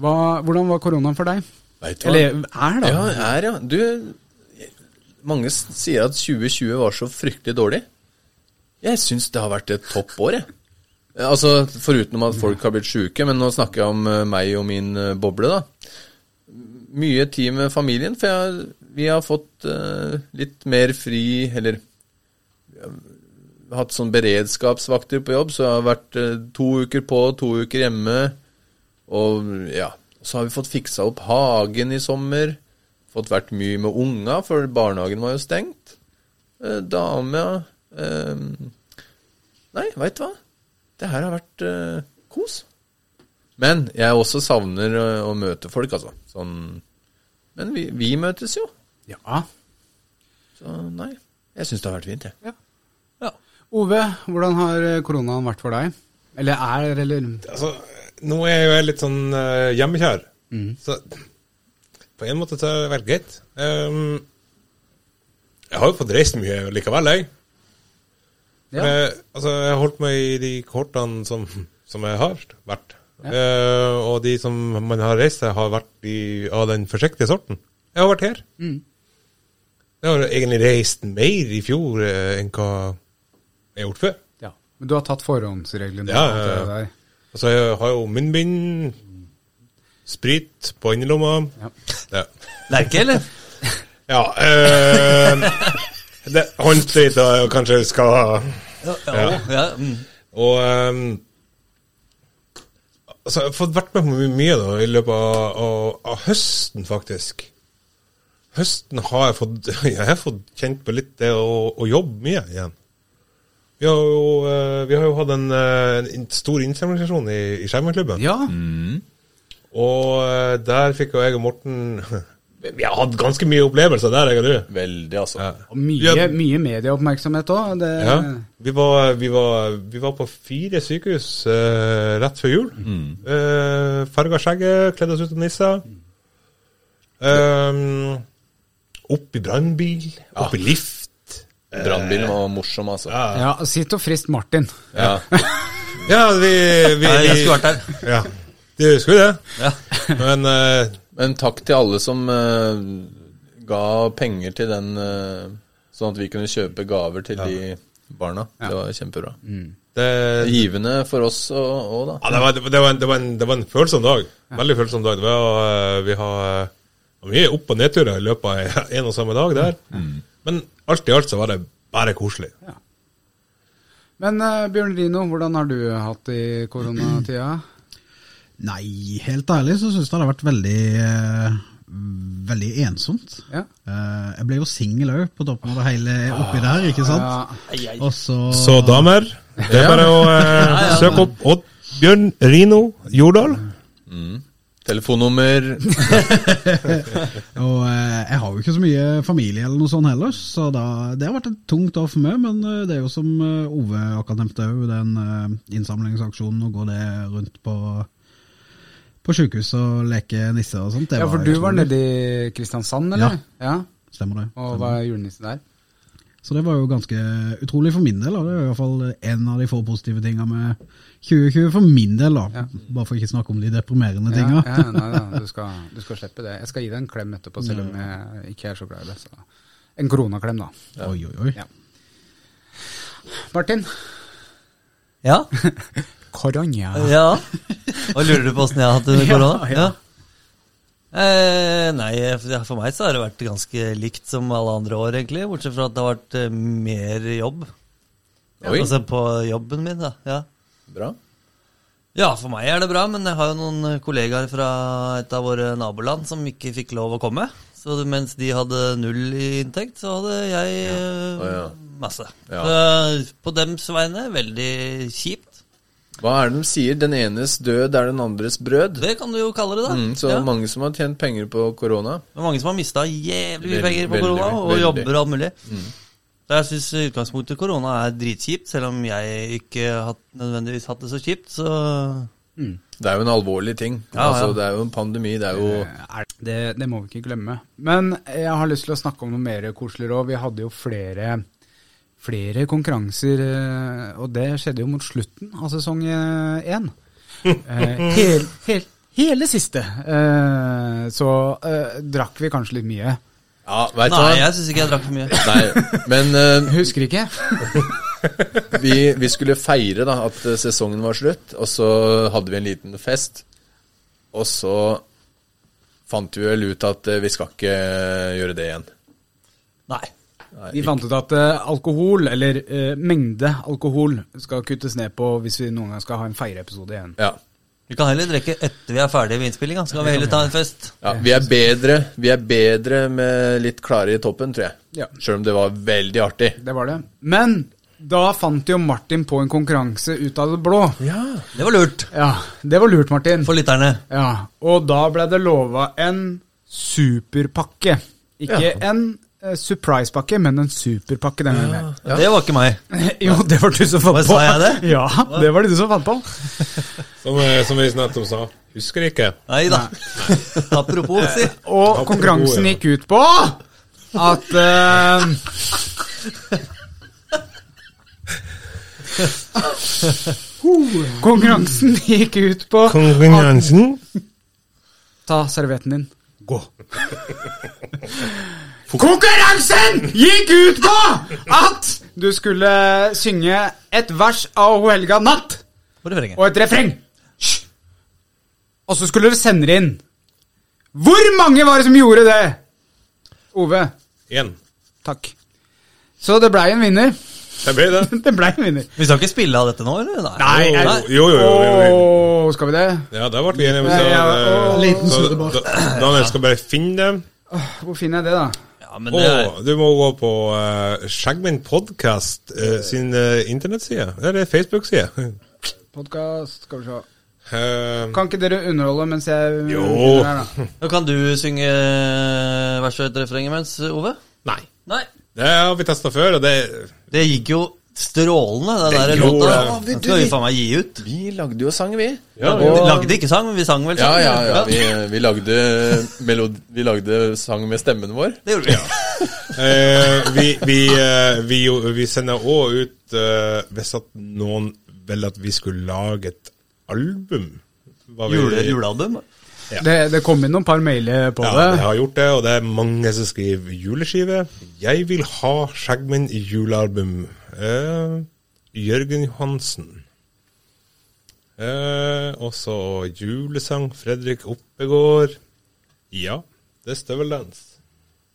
[SPEAKER 1] hva, hvordan var koronaen for deg?
[SPEAKER 3] Vet du hva?
[SPEAKER 1] Eller er, da.
[SPEAKER 3] Ja, er, ja. Du, mange s- sier at 2020 var så fryktelig dårlig. Jeg syns det har vært et toppår, jeg. Eh, Altså, Foruten om at folk har blitt sjuke, men nå snakker jeg om eh, meg og min eh, boble, da. Mye tid med familien, for jeg, vi har fått eh, litt mer fri, eller ja, hatt sånn beredskapsvakter på jobb, så jeg har vært eh, to uker på, to uker hjemme. Og ja, så har vi fått fiksa opp hagen i sommer. Fått vært mye med unga, for barnehagen var jo stengt. Eh, dame eh, Nei, veit du hva? Det her har vært eh, kos. Men jeg også savner eh, å møte folk, altså. Sånn Men vi, vi møtes jo.
[SPEAKER 1] Ja.
[SPEAKER 3] Så nei. Jeg syns det har vært fint, jeg.
[SPEAKER 1] Ove, hvordan har eh, koronaen vært for deg? Eller er, eller
[SPEAKER 2] Altså, nå er jeg jo jeg litt sånn eh, hjemmekjær, så på en måte så er det vel greit. Ehm, jeg har jo fått reist mye likevel, jeg. For
[SPEAKER 1] Ja.
[SPEAKER 2] Jeg, altså, jeg har holdt meg i de kortene som, som jeg har vært. Eh, og de som man har reist til, har vært i, av den forsiktige sorten. Jeg har vært her. Jeg har egentlig reist mer i fjor eh, enn hva jeg har gjort før.
[SPEAKER 1] ja. Men du har tatt forhåndsreglene?
[SPEAKER 2] Ja,
[SPEAKER 1] og alt det
[SPEAKER 2] ja, ja.
[SPEAKER 1] der.
[SPEAKER 2] Altså, jeg har jo munnbind, sprit på innerlomma.
[SPEAKER 1] Ja.
[SPEAKER 2] Ja.
[SPEAKER 4] Lerke, eller?
[SPEAKER 2] ja eh, det, håndsprit da, jeg kanskje skal ha.
[SPEAKER 4] Ja.
[SPEAKER 2] Ja.
[SPEAKER 4] ja, mm.
[SPEAKER 2] Og eh, altså, jeg har fått vært med på my- mye da, i løpet av, av, av høsten, faktisk. Høsten har jeg fått Jeg har fått kjent på litt det å, å jobbe mye igjen. Vi har jo, eh, vi har jo hatt en, eh, en stor innsamlingsstasjon i, i Skjermklubben.
[SPEAKER 1] Ja.
[SPEAKER 2] Og eh, der fikk jo jeg og Morten Vi har hatt ganske mye opplevelser der, jeg og du.
[SPEAKER 3] Veldig, altså.
[SPEAKER 2] Ja.
[SPEAKER 1] Og mye,
[SPEAKER 2] Ja.
[SPEAKER 1] mye medieoppmerksomhet òg. Det,
[SPEAKER 2] Ja. Vi, var, vi, var, vi var på fire sykehus eh, rett før jul. Mm. Farga skjegget, kledd oss ut som nisser. Um, opp i brannbil, opp i lift.
[SPEAKER 3] Brannbilen var morsom, altså.
[SPEAKER 2] Eh, Ja,
[SPEAKER 1] ja, Sitt og frist Martin.
[SPEAKER 3] Ja.
[SPEAKER 2] ja vi, vi,
[SPEAKER 4] Nei, jeg
[SPEAKER 2] vi
[SPEAKER 4] skulle vært der.
[SPEAKER 2] Ja. Du skulle det.
[SPEAKER 4] Ja.
[SPEAKER 2] Men eh,
[SPEAKER 3] Men takk til alle som eh, ga penger til den, eh, sånn at vi kunne kjøpe gaver til de barna. Det var kjempebra.
[SPEAKER 4] Mm.
[SPEAKER 2] Det,
[SPEAKER 3] Givende for oss òg, da.
[SPEAKER 2] Ja, det var, det, var- det, var en, det, var en, det var en følsom dag. Veldig følsom dag. Det var, eh, vi har eh, mye opp- og nedturer i løpet av en og samme dag der. Men alt i alt så var det bare koselig.
[SPEAKER 1] Men eh, Bjørn Rino, hvordan har du hatt det i koronatida?
[SPEAKER 5] Nei, helt ærlig så syns jeg det har vært veldig eh, Veldig ensomt.
[SPEAKER 1] Ja.
[SPEAKER 5] Eh, jeg ble jo singel òg, på toppen av det hele oppi der, ikke sant? Og så
[SPEAKER 2] Så damer, det er bare å eh, søke opp Odd Bjørn Rino Jordal.
[SPEAKER 3] Telefonnummer
[SPEAKER 5] Og eh, jeg har jo ikke så mye familie eller noe sånt heller, så da, det har vært et tungt år for meg. Men eh, det er jo som eh, Ove akkurat nevnte òg, den eh, innsamlingsaksjonen, å gå det rundt på, på sjukehuset og leke nisse og sånt. Det
[SPEAKER 1] ja, for du var
[SPEAKER 5] utrolig.
[SPEAKER 1] nede i Kristiansand, eller? Ja.
[SPEAKER 5] Stemmer det.
[SPEAKER 1] Og var julenisse der?
[SPEAKER 5] Så det var jo ganske utrolig for min del. Da. Det er i hvert fall en av de få positive tinga med 2020 for min del, da. Bare for ikke snakke om de deprimerende
[SPEAKER 1] Ja,
[SPEAKER 5] tinga.
[SPEAKER 1] ja, nei, nei, du, skal, du skal slippe det. Jeg skal gi deg en klem etterpå, selv om jeg ikke er så glad i det. Så. En kronaklem, da.
[SPEAKER 5] Oi, oi, oi.
[SPEAKER 1] Ja. Martin?
[SPEAKER 4] Ja?
[SPEAKER 1] Korona.
[SPEAKER 4] ja. Og lurer du på åssen jeg har hatt det under korona? Ja. Eh, nei, for for meg så har det vært ganske likt som alle andre år, egentlig. Bortsett fra at det har vært eh, mer jobb.
[SPEAKER 3] Oi.
[SPEAKER 4] Altså på jobben min, da. Ja.
[SPEAKER 3] Bra.
[SPEAKER 4] Ja, for meg er det bra, men jeg har jo noen kollegaer fra et av våre naboland som ikke fikk lov å komme. Så mens de hadde null i inntekt, så hadde jeg eh,
[SPEAKER 3] Å, ja.
[SPEAKER 4] masse.
[SPEAKER 3] Ja.
[SPEAKER 4] Så eh, på dems vegne, veldig kjipt.
[SPEAKER 3] Hva er det de sier? Den enes død er den andres brød.
[SPEAKER 4] Det kan du jo kalle det, da.
[SPEAKER 3] Mm, så
[SPEAKER 4] ja.
[SPEAKER 3] mange som har tjent penger på korona.
[SPEAKER 4] Det er mange som har mista jævlig mye
[SPEAKER 3] Veldig,
[SPEAKER 4] penger på
[SPEAKER 3] veldig,
[SPEAKER 4] korona, og
[SPEAKER 3] veldig. Mm.
[SPEAKER 4] jobber og alt mulig. Så jeg syns utgangspunktet korona er dritkjipt, selv om jeg ikke hatt, nødvendigvis hatt det så kjipt, så
[SPEAKER 3] Det er jo en alvorlig ting.
[SPEAKER 4] Ja,
[SPEAKER 3] altså,
[SPEAKER 4] ja. Eh.
[SPEAKER 3] Det er jo en pandemi. Det er jo
[SPEAKER 1] Eh, Er det- Det, det må vi ikke glemme. Men jeg har lyst til å snakke om noe mer koselig òg. Vi hadde jo flere, flere konkurranser, eh, og det skjedde jo mot slutten av sesong eh, én. Eh, hel, hel, hele siste. eh, Så eh, drakk vi kanskje litt mye.
[SPEAKER 3] Ja, veit du
[SPEAKER 4] Nei,
[SPEAKER 3] hva?
[SPEAKER 4] jeg syns ikke jeg drakk for mye.
[SPEAKER 3] Nei, men eh,
[SPEAKER 1] Husker ikke.
[SPEAKER 3] vi, vi skulle feire da at eh, sesongen var slutt, og så hadde vi en liten fest. Og så fant vi vel ut at eh, vi skal ikke eh, gjøre det igjen.
[SPEAKER 4] Nei.
[SPEAKER 1] Vi fant ut at eh, alkohol, eller eh, mengde alkohol, skal kuttes ned på hvis vi noen gang skal ha en feireepisode igjen.
[SPEAKER 3] Ja.
[SPEAKER 4] Vi kan heller drikke etter vi er ferdige med innspillinga, så kan vi heller ta en fest.
[SPEAKER 3] ja vi, er bedre, vi er bedre med litt klare i toppen, tror jeg.
[SPEAKER 1] Ja.
[SPEAKER 3] Sjøl om det var veldig artig.
[SPEAKER 1] Det var det. Men da fant jo Martin på en konkurranse ut av det blå.
[SPEAKER 4] Det var lurt
[SPEAKER 1] Ja, det var lurt, Martin.
[SPEAKER 4] for lytterne.
[SPEAKER 1] Ja, Og da ble det lova en superpakke. Ikke en eh, surprise-pakke, men en superpakke denne gangen.
[SPEAKER 4] Det var ikke meg.
[SPEAKER 1] Jo, det var du som fant
[SPEAKER 4] Hva,
[SPEAKER 1] på.
[SPEAKER 4] sa jeg det?
[SPEAKER 1] Ja, det var det du som fant på.
[SPEAKER 2] Som, eh, som vi nettopp sa, husker ikke.
[SPEAKER 4] Nei da. Apropos, si.
[SPEAKER 1] Og
[SPEAKER 2] Apropos,
[SPEAKER 1] konkurransen
[SPEAKER 2] ja.
[SPEAKER 1] gikk ut på at eh, Konkurransen gikk ut på
[SPEAKER 2] Konkurransen.
[SPEAKER 1] Ta servietten din. Gå. Konkurransen gikk ut på at du skulle synge et vers av Ho helga natt
[SPEAKER 4] Hvor er refrenget?
[SPEAKER 1] og et refreng. Hysj. Og så skulle du sende det inn. Hvor mange var det som gjorde det? Ove.
[SPEAKER 2] Igjen.
[SPEAKER 1] Takk. Så det blei en vinner.
[SPEAKER 2] Det ble det.
[SPEAKER 1] Det blei en vinner.
[SPEAKER 4] Vi skal ikke spille av dette nå, eller? Nei.
[SPEAKER 2] jeg- Jo, jo, jo, jo, jo.
[SPEAKER 1] Åh, skal vi det?
[SPEAKER 2] Ja, der ble vi enige.
[SPEAKER 1] Ja, ja,
[SPEAKER 2] Så,
[SPEAKER 1] og-
[SPEAKER 2] eh,
[SPEAKER 5] Liten
[SPEAKER 2] så
[SPEAKER 5] surdebar.
[SPEAKER 2] Da- Daniel skal bare finne dem.
[SPEAKER 1] Hvor finner jeg det, da?
[SPEAKER 4] Ja, men det er,
[SPEAKER 2] Og du må gå på uh, Skjeggmenn Podcast eh, sin eh, internettside. Eller Facebook-side.
[SPEAKER 1] Podkast, skal vi se.
[SPEAKER 2] Eh,
[SPEAKER 1] Kan ikke dere underholde mens jeg
[SPEAKER 2] Jo.
[SPEAKER 1] finner her, da?
[SPEAKER 4] Nå kan du synge eh, verset og et refreng imens, Ove?
[SPEAKER 2] nei.
[SPEAKER 4] Nei.
[SPEAKER 2] Det har vi testa før, og det
[SPEAKER 4] Det gikk jo strålende, den
[SPEAKER 2] Det
[SPEAKER 4] der
[SPEAKER 2] gjorde
[SPEAKER 4] låta.
[SPEAKER 3] det.
[SPEAKER 4] Den skal vi faen meg gi ut.
[SPEAKER 3] Vi lagde jo sang, vi.
[SPEAKER 2] Ja,
[SPEAKER 4] Vi
[SPEAKER 3] Og-
[SPEAKER 4] lagde ikke sang, men vi sang vel sånn.
[SPEAKER 3] Ja, ja,
[SPEAKER 4] sang.
[SPEAKER 3] ja. Vi, vi, lagde melodi, vi lagde sang med stemmen vår.
[SPEAKER 4] Det gjorde vi.
[SPEAKER 2] eh, Vi, vi, eh, vi, jo- vi sender òg ut eh, Hvis at noen ville at vi skulle lage et album hva vi-
[SPEAKER 4] Jule, julealbum.
[SPEAKER 2] Ja.
[SPEAKER 1] Det, det kom inn noen par mailer på
[SPEAKER 2] Ja, jeg
[SPEAKER 1] det.
[SPEAKER 2] har gjort det, og det er mange som skriver juleskive. Jeg vil ha Skjeggmenn julealbum. Eh, Jørgen Johansen. Eh, og så julesang Fredrik Oppegård. Ja, det er støveldans.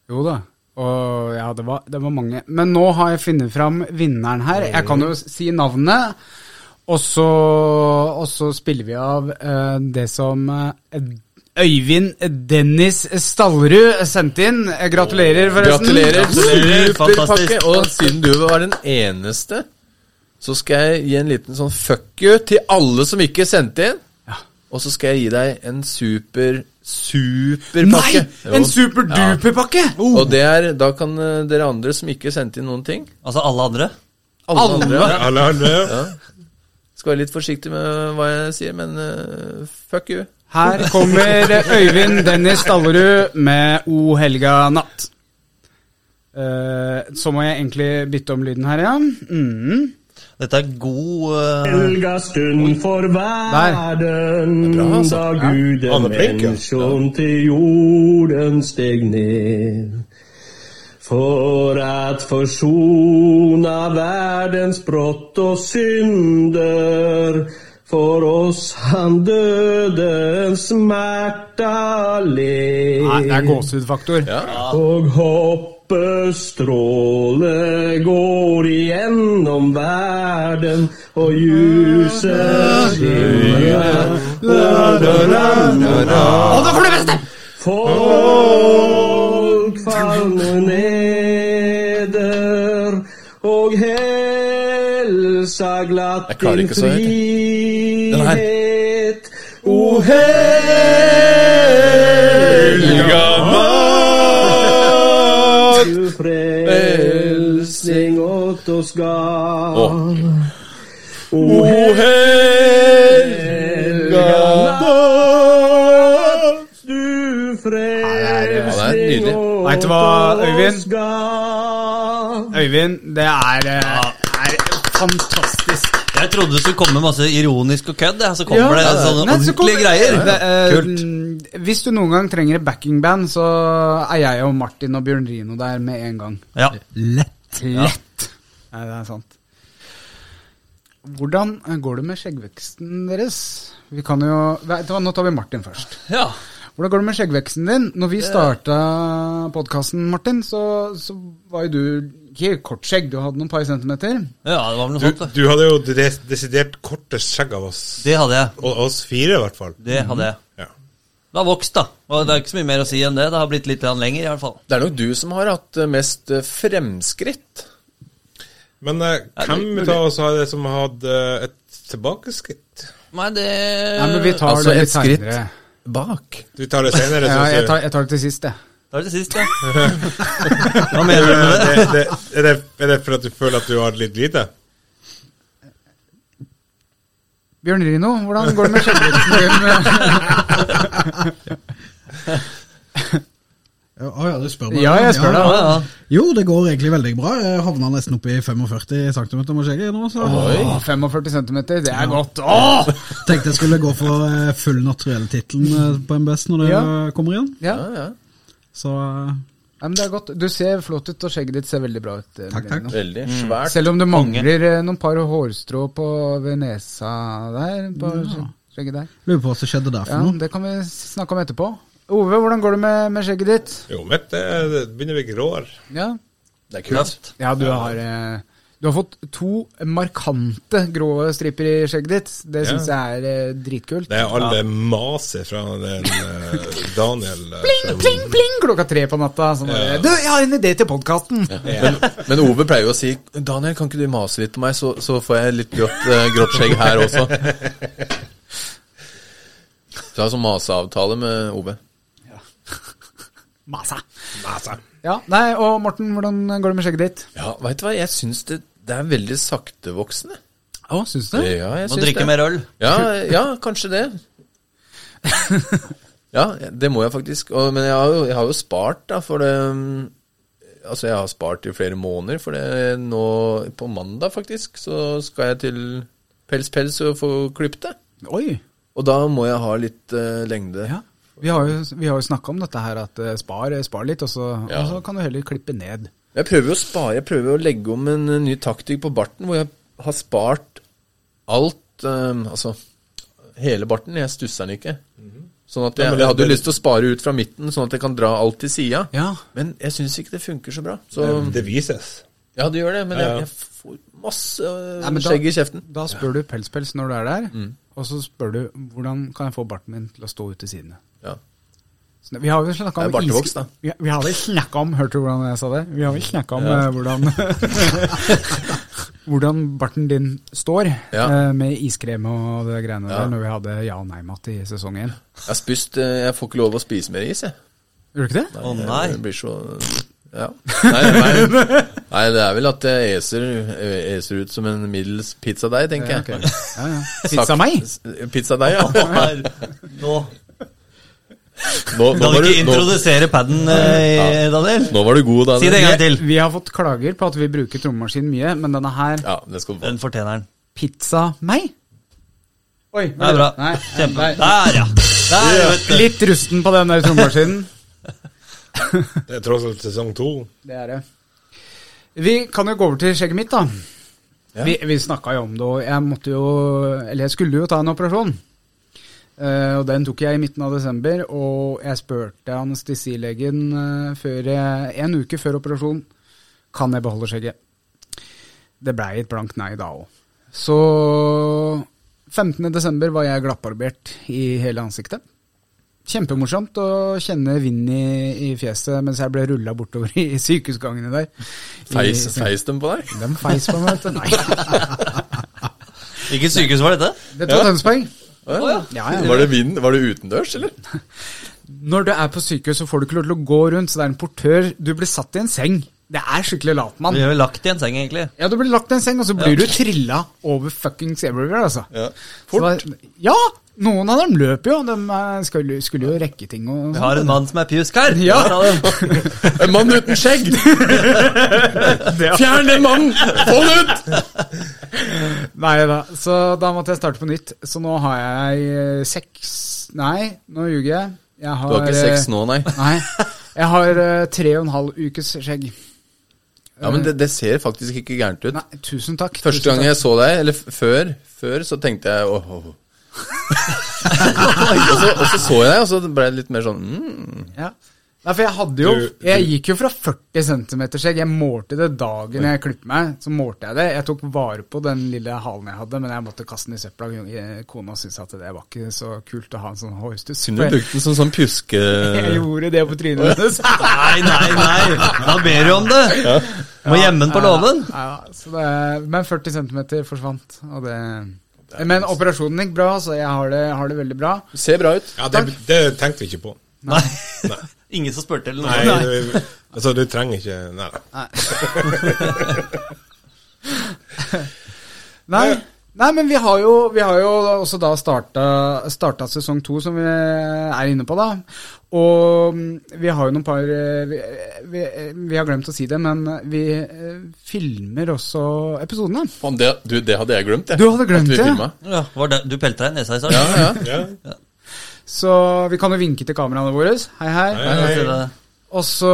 [SPEAKER 1] Jo da. Og ja, det var, det var mange. Men nå har jeg funnet fram vinneren her. Jeg kan
[SPEAKER 3] Mm.
[SPEAKER 1] jo si navnet. Og så, og så spiller vi av eh, det som eh, Øyvind Dennis Stallerud sendte inn. Eh, Gratulerer, forresten.
[SPEAKER 3] Gratulerer.
[SPEAKER 4] Gratulerer,
[SPEAKER 3] Superpakke.
[SPEAKER 4] fantastisk.
[SPEAKER 3] Og siden du var den eneste, så skal jeg gi en liten sånn fuck you til alle som ikke sendte inn. Og så skal jeg gi deg en super,
[SPEAKER 1] Nei!
[SPEAKER 3] superpakke.
[SPEAKER 1] En
[SPEAKER 3] Jo.
[SPEAKER 1] superduper-pakke!
[SPEAKER 3] Ja. Og det er, da kan eh, dere andre som ikke sendte inn noen ting
[SPEAKER 4] Altså alle andre?
[SPEAKER 3] Alle,
[SPEAKER 1] Alle.
[SPEAKER 3] andre
[SPEAKER 2] Alle andre.
[SPEAKER 3] skal være litt forsiktig med hva jeg sier, men eh, fuck you.
[SPEAKER 1] Her kommer Øyvind Dennis Stallerud med O helga natt. Eh, så må jeg egentlig bytte om lyden her, ja. Mm.
[SPEAKER 4] Dette er god eh,
[SPEAKER 6] Helgastund for verden,
[SPEAKER 3] bra, altså. Ja.
[SPEAKER 6] da
[SPEAKER 2] Han er
[SPEAKER 6] guden
[SPEAKER 2] flink, ja.
[SPEAKER 6] menneskjom til jorden steg ned. For at forsona verdens brott og synder, for oss han dødens smerta led.
[SPEAKER 1] Nei, det er gåsehudfaktor.
[SPEAKER 6] Og hoppestråle går igjennom verden, og ljuset skinner.
[SPEAKER 1] Og det får du beste!
[SPEAKER 6] Folk faller neder, og helsa glatt
[SPEAKER 3] Jeg klarer
[SPEAKER 6] din
[SPEAKER 3] ikke så høyt, Den her.
[SPEAKER 6] frihet. O helga du frelsning åt oss gav. O helga natt, du
[SPEAKER 3] Ja, det er
[SPEAKER 6] frelsning
[SPEAKER 3] nydelig.
[SPEAKER 1] Vet
[SPEAKER 6] åt
[SPEAKER 1] du hva,
[SPEAKER 6] oss
[SPEAKER 1] Øyvind?
[SPEAKER 6] gav.
[SPEAKER 1] Øyvind, det er, eh, er fantastisk.
[SPEAKER 4] Jeg trodde det skulle komme masse ironisk og kødd, ja, så kommer det sånne
[SPEAKER 1] Nei, så
[SPEAKER 4] ordentlige
[SPEAKER 1] kommer-
[SPEAKER 4] greier.
[SPEAKER 1] Det, eh, Hvis du noen gang trenger et backingband, så er jeg og Martin og Bjørn Rino der med en gang.
[SPEAKER 4] Ja.
[SPEAKER 5] Lett.
[SPEAKER 1] Lett. Nei, det er sant. Hvordan går det med skjeggveksten deres? Vi kan jo Vet du hva, Nå tar vi Martin først.
[SPEAKER 4] ja.
[SPEAKER 1] Hvordan går det med skjeggveksten din? Når
[SPEAKER 3] Eh.
[SPEAKER 1] vi starta podkasten, Martin, så, så var jo du ikke kort skjegg, du hadde noen par centimeter.
[SPEAKER 4] Ja, det var vel noe
[SPEAKER 2] Du,
[SPEAKER 4] sånt. da.
[SPEAKER 2] du hadde jo des- desidert kortest skjegg av oss.
[SPEAKER 4] Det hadde jeg.
[SPEAKER 2] Og oss fire, i hvert fall.
[SPEAKER 4] Det hadde jeg.
[SPEAKER 2] Ja.
[SPEAKER 4] Det har vokst, da. Og det er ikke så mye mer å si enn det. Det har blitt litt grann lenger, i hvert fall.
[SPEAKER 3] Det er nok du som har hatt eh, mest eh, fremskritt.
[SPEAKER 2] Men eh, hvem av oss har det som hadde eh, et tilbakeskritt?
[SPEAKER 4] Nei, det
[SPEAKER 1] Nei, men vi tar
[SPEAKER 3] altså
[SPEAKER 1] det
[SPEAKER 3] et
[SPEAKER 1] litt
[SPEAKER 3] skritt
[SPEAKER 1] seinere.
[SPEAKER 3] bak.
[SPEAKER 2] Vi tar det senere.
[SPEAKER 1] Ja,
[SPEAKER 2] så-
[SPEAKER 1] jeg, tar- jeg tar det til sist, jeg.
[SPEAKER 4] Da er det sist, da. Hva mener du med det?
[SPEAKER 2] Eh, det, det, er, det, er det for at du føler at du har litt lite?
[SPEAKER 1] Bjørn Rino, hvordan går det med skjeggveksten din?
[SPEAKER 5] Ja, ja, du spør meg.
[SPEAKER 1] Ja, jeg spør
[SPEAKER 4] Ja,
[SPEAKER 1] deg.
[SPEAKER 4] ja.
[SPEAKER 5] Jo, det går egentlig veldig bra. Jeg havna nesten oppe i 45 cm med skjegget nå. Så
[SPEAKER 1] Åh, 45 cm, det er godt. Åh!
[SPEAKER 5] tenkte jeg skulle gå for eh, full naturell-tittelen på MBS når det eh,
[SPEAKER 1] Ja.
[SPEAKER 5] kommer igjen.
[SPEAKER 1] Ja,
[SPEAKER 3] Ja, ja.
[SPEAKER 5] Så eh,
[SPEAKER 1] Nei, men det er godt. Du ser flott ut, og skjegget ditt ser veldig bra ut. eh,
[SPEAKER 5] Takk,
[SPEAKER 1] Bjørn Rino.
[SPEAKER 3] Veldig
[SPEAKER 4] Mm.
[SPEAKER 3] svært.
[SPEAKER 1] Selv om du mangler eh, noen par hårstrå på ved nesa der. På skjegget der.
[SPEAKER 5] lurer på hva som skjedde der for
[SPEAKER 1] Ja,
[SPEAKER 5] noe.
[SPEAKER 1] det kan vi snakke om etterpå. Ove, hvordan går det med, med skjegget ditt?
[SPEAKER 2] Jo, mitt det, det begynner å bli gråere.
[SPEAKER 1] Ja,
[SPEAKER 3] Det er kult.
[SPEAKER 1] ja du, har, eh, du har fått to markante grå striper i skjegget ditt. Det
[SPEAKER 2] Ja.
[SPEAKER 1] syns jeg er eh, dritkult.
[SPEAKER 2] Det er alle maser fra den eh, Daniel eh,
[SPEAKER 1] Pling,
[SPEAKER 2] som-
[SPEAKER 1] pling, pling klokka tre på natta. Sånn der, Du, jeg har en idé til podkasten!
[SPEAKER 3] Men Ove pleier jo å si 'Daniel, kan ikke du mase litt på meg, så, så får jeg litt grått, eh, grått skjegg her også'. Så jeg har sånn maseavtale med Ove.
[SPEAKER 1] Masa. Ja, nei, og Morten, hvordan går det med skjegget ditt?
[SPEAKER 3] Ja, veit du hå, jeg syns det, det er veldig saktevoksende.
[SPEAKER 1] Å, syns du?
[SPEAKER 3] Ja, jeg
[SPEAKER 4] Må
[SPEAKER 3] syns det.
[SPEAKER 4] drikke mer øl.
[SPEAKER 3] Ja, ja, kanskje det. Ja, det må jeg faktisk. Og, men jeg har, jo, jeg har jo spart, da, for det um, Altså, jeg har spart i flere måneder, for det nå På mandag, faktisk, så skal jeg til Pels Pels og få klippet det.
[SPEAKER 1] Oi.
[SPEAKER 3] Og da må jeg ha litt eh, lengde.
[SPEAKER 1] Ja. Vi har jo, vi har jo snakka om dette her, at eh, spar, spar litt, og så,
[SPEAKER 3] Ja.
[SPEAKER 1] og så kan du heller klippe ned.
[SPEAKER 3] Jeg prøver jo å spare, jeg prøver å legge om en eh, ny taktikk på barten, hvor jeg har spart alt eh, Altså hele barten. Jeg stusser den ikke. Sånn at jeg,
[SPEAKER 2] Mhm. men det-
[SPEAKER 3] jeg hadde jo
[SPEAKER 2] det-
[SPEAKER 3] lyst til å spare ut fra midten, sånn at jeg kan dra alt til sida.
[SPEAKER 1] Ja.
[SPEAKER 3] Men jeg syns ikke det funker så bra. Så
[SPEAKER 2] Eh, Det vises.
[SPEAKER 3] ja, det gjør det, men
[SPEAKER 2] Ja, ja.
[SPEAKER 3] jeg, jeg får masse eh,
[SPEAKER 1] Nei, men da-
[SPEAKER 3] skjegg i kjeften. Mm.
[SPEAKER 1] Da spør du pelspels når du er der, og så spør du hvordan kan jeg få barten min til å stå ut til sidene.
[SPEAKER 3] Ja.
[SPEAKER 1] Så Vi har jo snakka om
[SPEAKER 3] Det er bartevoks,
[SPEAKER 1] iske-
[SPEAKER 3] da.
[SPEAKER 1] Vi, vi har vel snakket om Hørte du hvordan jeg sa det? Vi har vel snakket om eh, hvordan Hvordan barten din står
[SPEAKER 3] Ja.
[SPEAKER 1] eh, med iskrem og det greiene
[SPEAKER 3] Ja.
[SPEAKER 1] der når vi hadde ja- og nei-mat i sesong én.
[SPEAKER 3] Jeg har spist eh, Jeg får ikke lov å spise mer is, jeg.
[SPEAKER 1] Gjorde du ikke det?
[SPEAKER 4] Å nei.
[SPEAKER 3] Jeg blir så Ja. Nei, nei, nei, det er vel at jeg eser, eh, eser ut som en middels pizzadeig, tenker
[SPEAKER 1] Ja,
[SPEAKER 3] jeg.
[SPEAKER 1] ja. Pizza meg?
[SPEAKER 3] Sagt- Pizzadeig, ja.
[SPEAKER 4] Å, her. Nå
[SPEAKER 3] Nå, nå,
[SPEAKER 4] Kan
[SPEAKER 3] var
[SPEAKER 4] vi ikke
[SPEAKER 3] du, nå,
[SPEAKER 4] introdusere paden, eh, Daniel?
[SPEAKER 3] nå var du god, da.
[SPEAKER 4] Si det en gang til.
[SPEAKER 1] Vi har fått klager på at vi bruker trommemaskin mye, men denne her
[SPEAKER 3] Ja, det skal du få.
[SPEAKER 4] Den fortjener den.
[SPEAKER 1] Pizza meg? Oi,
[SPEAKER 4] Det er bra.
[SPEAKER 1] Nei,
[SPEAKER 4] Kjempe.
[SPEAKER 1] nei.
[SPEAKER 4] Der, ja. Der, vet du.
[SPEAKER 1] Litt rusten på den der trommemaskinen.
[SPEAKER 2] Det er tross alt sesong to.
[SPEAKER 1] Det er det. Vi kan jo gå over til skjegget mitt, da. Vi, vi snakka jo om det, og jeg måtte jo Eller jeg skulle jo ta en operasjon. Eh, og den tok jeg i midten av desember, og jeg spurte anestesilegen eh, før jeg, en uke før operasjon kan jeg beholde skjegget. Det blei et blankt nei da òg. Så 15. desember var jeg glattbarbert i hele ansiktet. Kjempemorsomt å kjenne vind i, i fjeset mens jeg ble rulla bortover i sykehusgangene der.
[SPEAKER 3] Feis,
[SPEAKER 1] I,
[SPEAKER 3] feis dem på deg?
[SPEAKER 1] de feis på meg, vet du. Nei.
[SPEAKER 4] Hvilket sykehus var dette?
[SPEAKER 1] Dette var Tønsberg.
[SPEAKER 3] Å,
[SPEAKER 1] Ja, ja.
[SPEAKER 3] Var det vind? Var det utendørs, eller?
[SPEAKER 1] Når du er på sykehus, så får du ikke lov til å gå rundt, så det er en portør. Du blir satt i en seng. Det er skikkelig
[SPEAKER 4] Du
[SPEAKER 1] latmann.
[SPEAKER 4] ble vel lagt i en seng, egentlig.
[SPEAKER 1] Ja, du blir lagt i en seng, og så blir du trilla over fuckings everywhere, altså.
[SPEAKER 3] Ja.
[SPEAKER 1] Så det var- ja! Noen av dem løper jo. De eh, skulle, skulle jo rekke ting og
[SPEAKER 4] Vi har en mann som er pjusk her.
[SPEAKER 1] Ja.
[SPEAKER 4] Der har du den.
[SPEAKER 3] En mann uten skjegg! Fjern den mannen! Få den ut!
[SPEAKER 1] Nei da. Så da måtte jeg starte på nytt. Så nå har jeg eh, seks Nei, nå ljuger jeg. Jeg har
[SPEAKER 3] Du har ikke
[SPEAKER 1] eh,
[SPEAKER 3] sex nå, nei.
[SPEAKER 1] Nei. Jeg har eh, tre og en halv ukes skjegg.
[SPEAKER 3] Ja, Men det, det ser faktisk ikke gærent ut.
[SPEAKER 1] Nei, tusen takk.
[SPEAKER 3] Første
[SPEAKER 1] tusen
[SPEAKER 3] gang jeg så deg, eller f- før, før så tenkte jeg åh, åh. åh. og, så, og så så jeg deg, og så ble jeg litt mer sånn mm.
[SPEAKER 1] takk. Ja. Nei, for jeg hadde jo
[SPEAKER 2] Du-
[SPEAKER 1] Jeg gikk jo fra 40 cm skjegg. Jeg målte det dagen jeg klippet meg. Så målte jeg det. Jeg tok vare på den lille halen jeg hadde, men jeg måtte kaste den i søpla. Eh, Kona syntes at det var ikke så kult å ha en sånn hårstuss.
[SPEAKER 3] Kunne du brukt den som sånn pjuske...
[SPEAKER 1] Jeg gjorde det på trynet hennes.
[SPEAKER 4] Nei, nei, nei. Da ber du om det. Må gjemme den på låven.
[SPEAKER 1] Ja, så det, men 40 cm forsvant. Og det, men operasjonen gikk bra, så jeg har det, har det veldig bra.
[SPEAKER 3] Du ser bra ut.
[SPEAKER 2] Ja, det, det tenkte vi ikke på.
[SPEAKER 4] Nei. Ingen som spurte eller
[SPEAKER 2] Nei,
[SPEAKER 4] noe.
[SPEAKER 2] det- altså du trenger ikke Nei. nei.
[SPEAKER 1] Nei,
[SPEAKER 2] Ja.
[SPEAKER 1] nei men vi har jo, vi har jo også da starta, starta sesong to, som vi er inne på, da. Og mm, vi har jo noen par eh, vi, vi, eh, vi har glemt å si det, men vi eh, filmer også episodene.
[SPEAKER 3] Faen, det, du, det hadde jeg glemt, jeg.
[SPEAKER 1] Du hadde glemt
[SPEAKER 3] At vi
[SPEAKER 1] det, ja.
[SPEAKER 3] filma.
[SPEAKER 4] Ja, var det, du pelte deg i nesa i stad?
[SPEAKER 3] Ja, ja.
[SPEAKER 2] Ja.
[SPEAKER 1] Så vi kan jo vinke til kameraene våre. Hei, hei.
[SPEAKER 2] Hei,
[SPEAKER 4] Jeg tror det-
[SPEAKER 1] Og så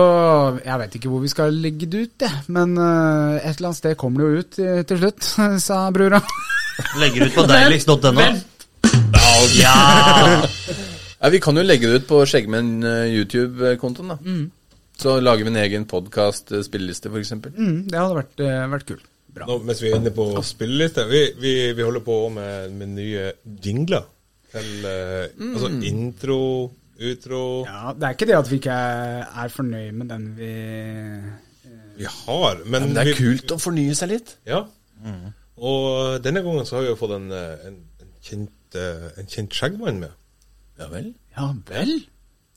[SPEAKER 1] Jeg veit ikke hvor vi skal legge det ut, jeg. Men eh, et eller annet sted kommer det jo ut eh, til slutt, sa brura.
[SPEAKER 4] Legger ut på deiligst.no. Ja!
[SPEAKER 3] Nei, vi kan jo legge det ut på Skjeggmenn eh, YouTube-kontoen, da. Så lager vi en egen eh, podkast-spilleliste, f.eks.
[SPEAKER 1] Mm, det hadde vært, eh, vært kult. Bra.
[SPEAKER 2] Nå, mens vi er inne på spilleliste vi, vi, vi holder på med, med nye jingler. Til eh, altså intro, utro
[SPEAKER 1] Ja, det er ikke det at vi ikke er, er fornøyd med den vi
[SPEAKER 2] Vi har, men,
[SPEAKER 3] Men det
[SPEAKER 2] vi-
[SPEAKER 3] er kult å fornye seg litt.
[SPEAKER 2] Ja. Og denne gangen så har vi jo fått en, eh, en, en kjent eh, En kjent skjeggmann med.
[SPEAKER 3] Ja vel.
[SPEAKER 1] Ja vel?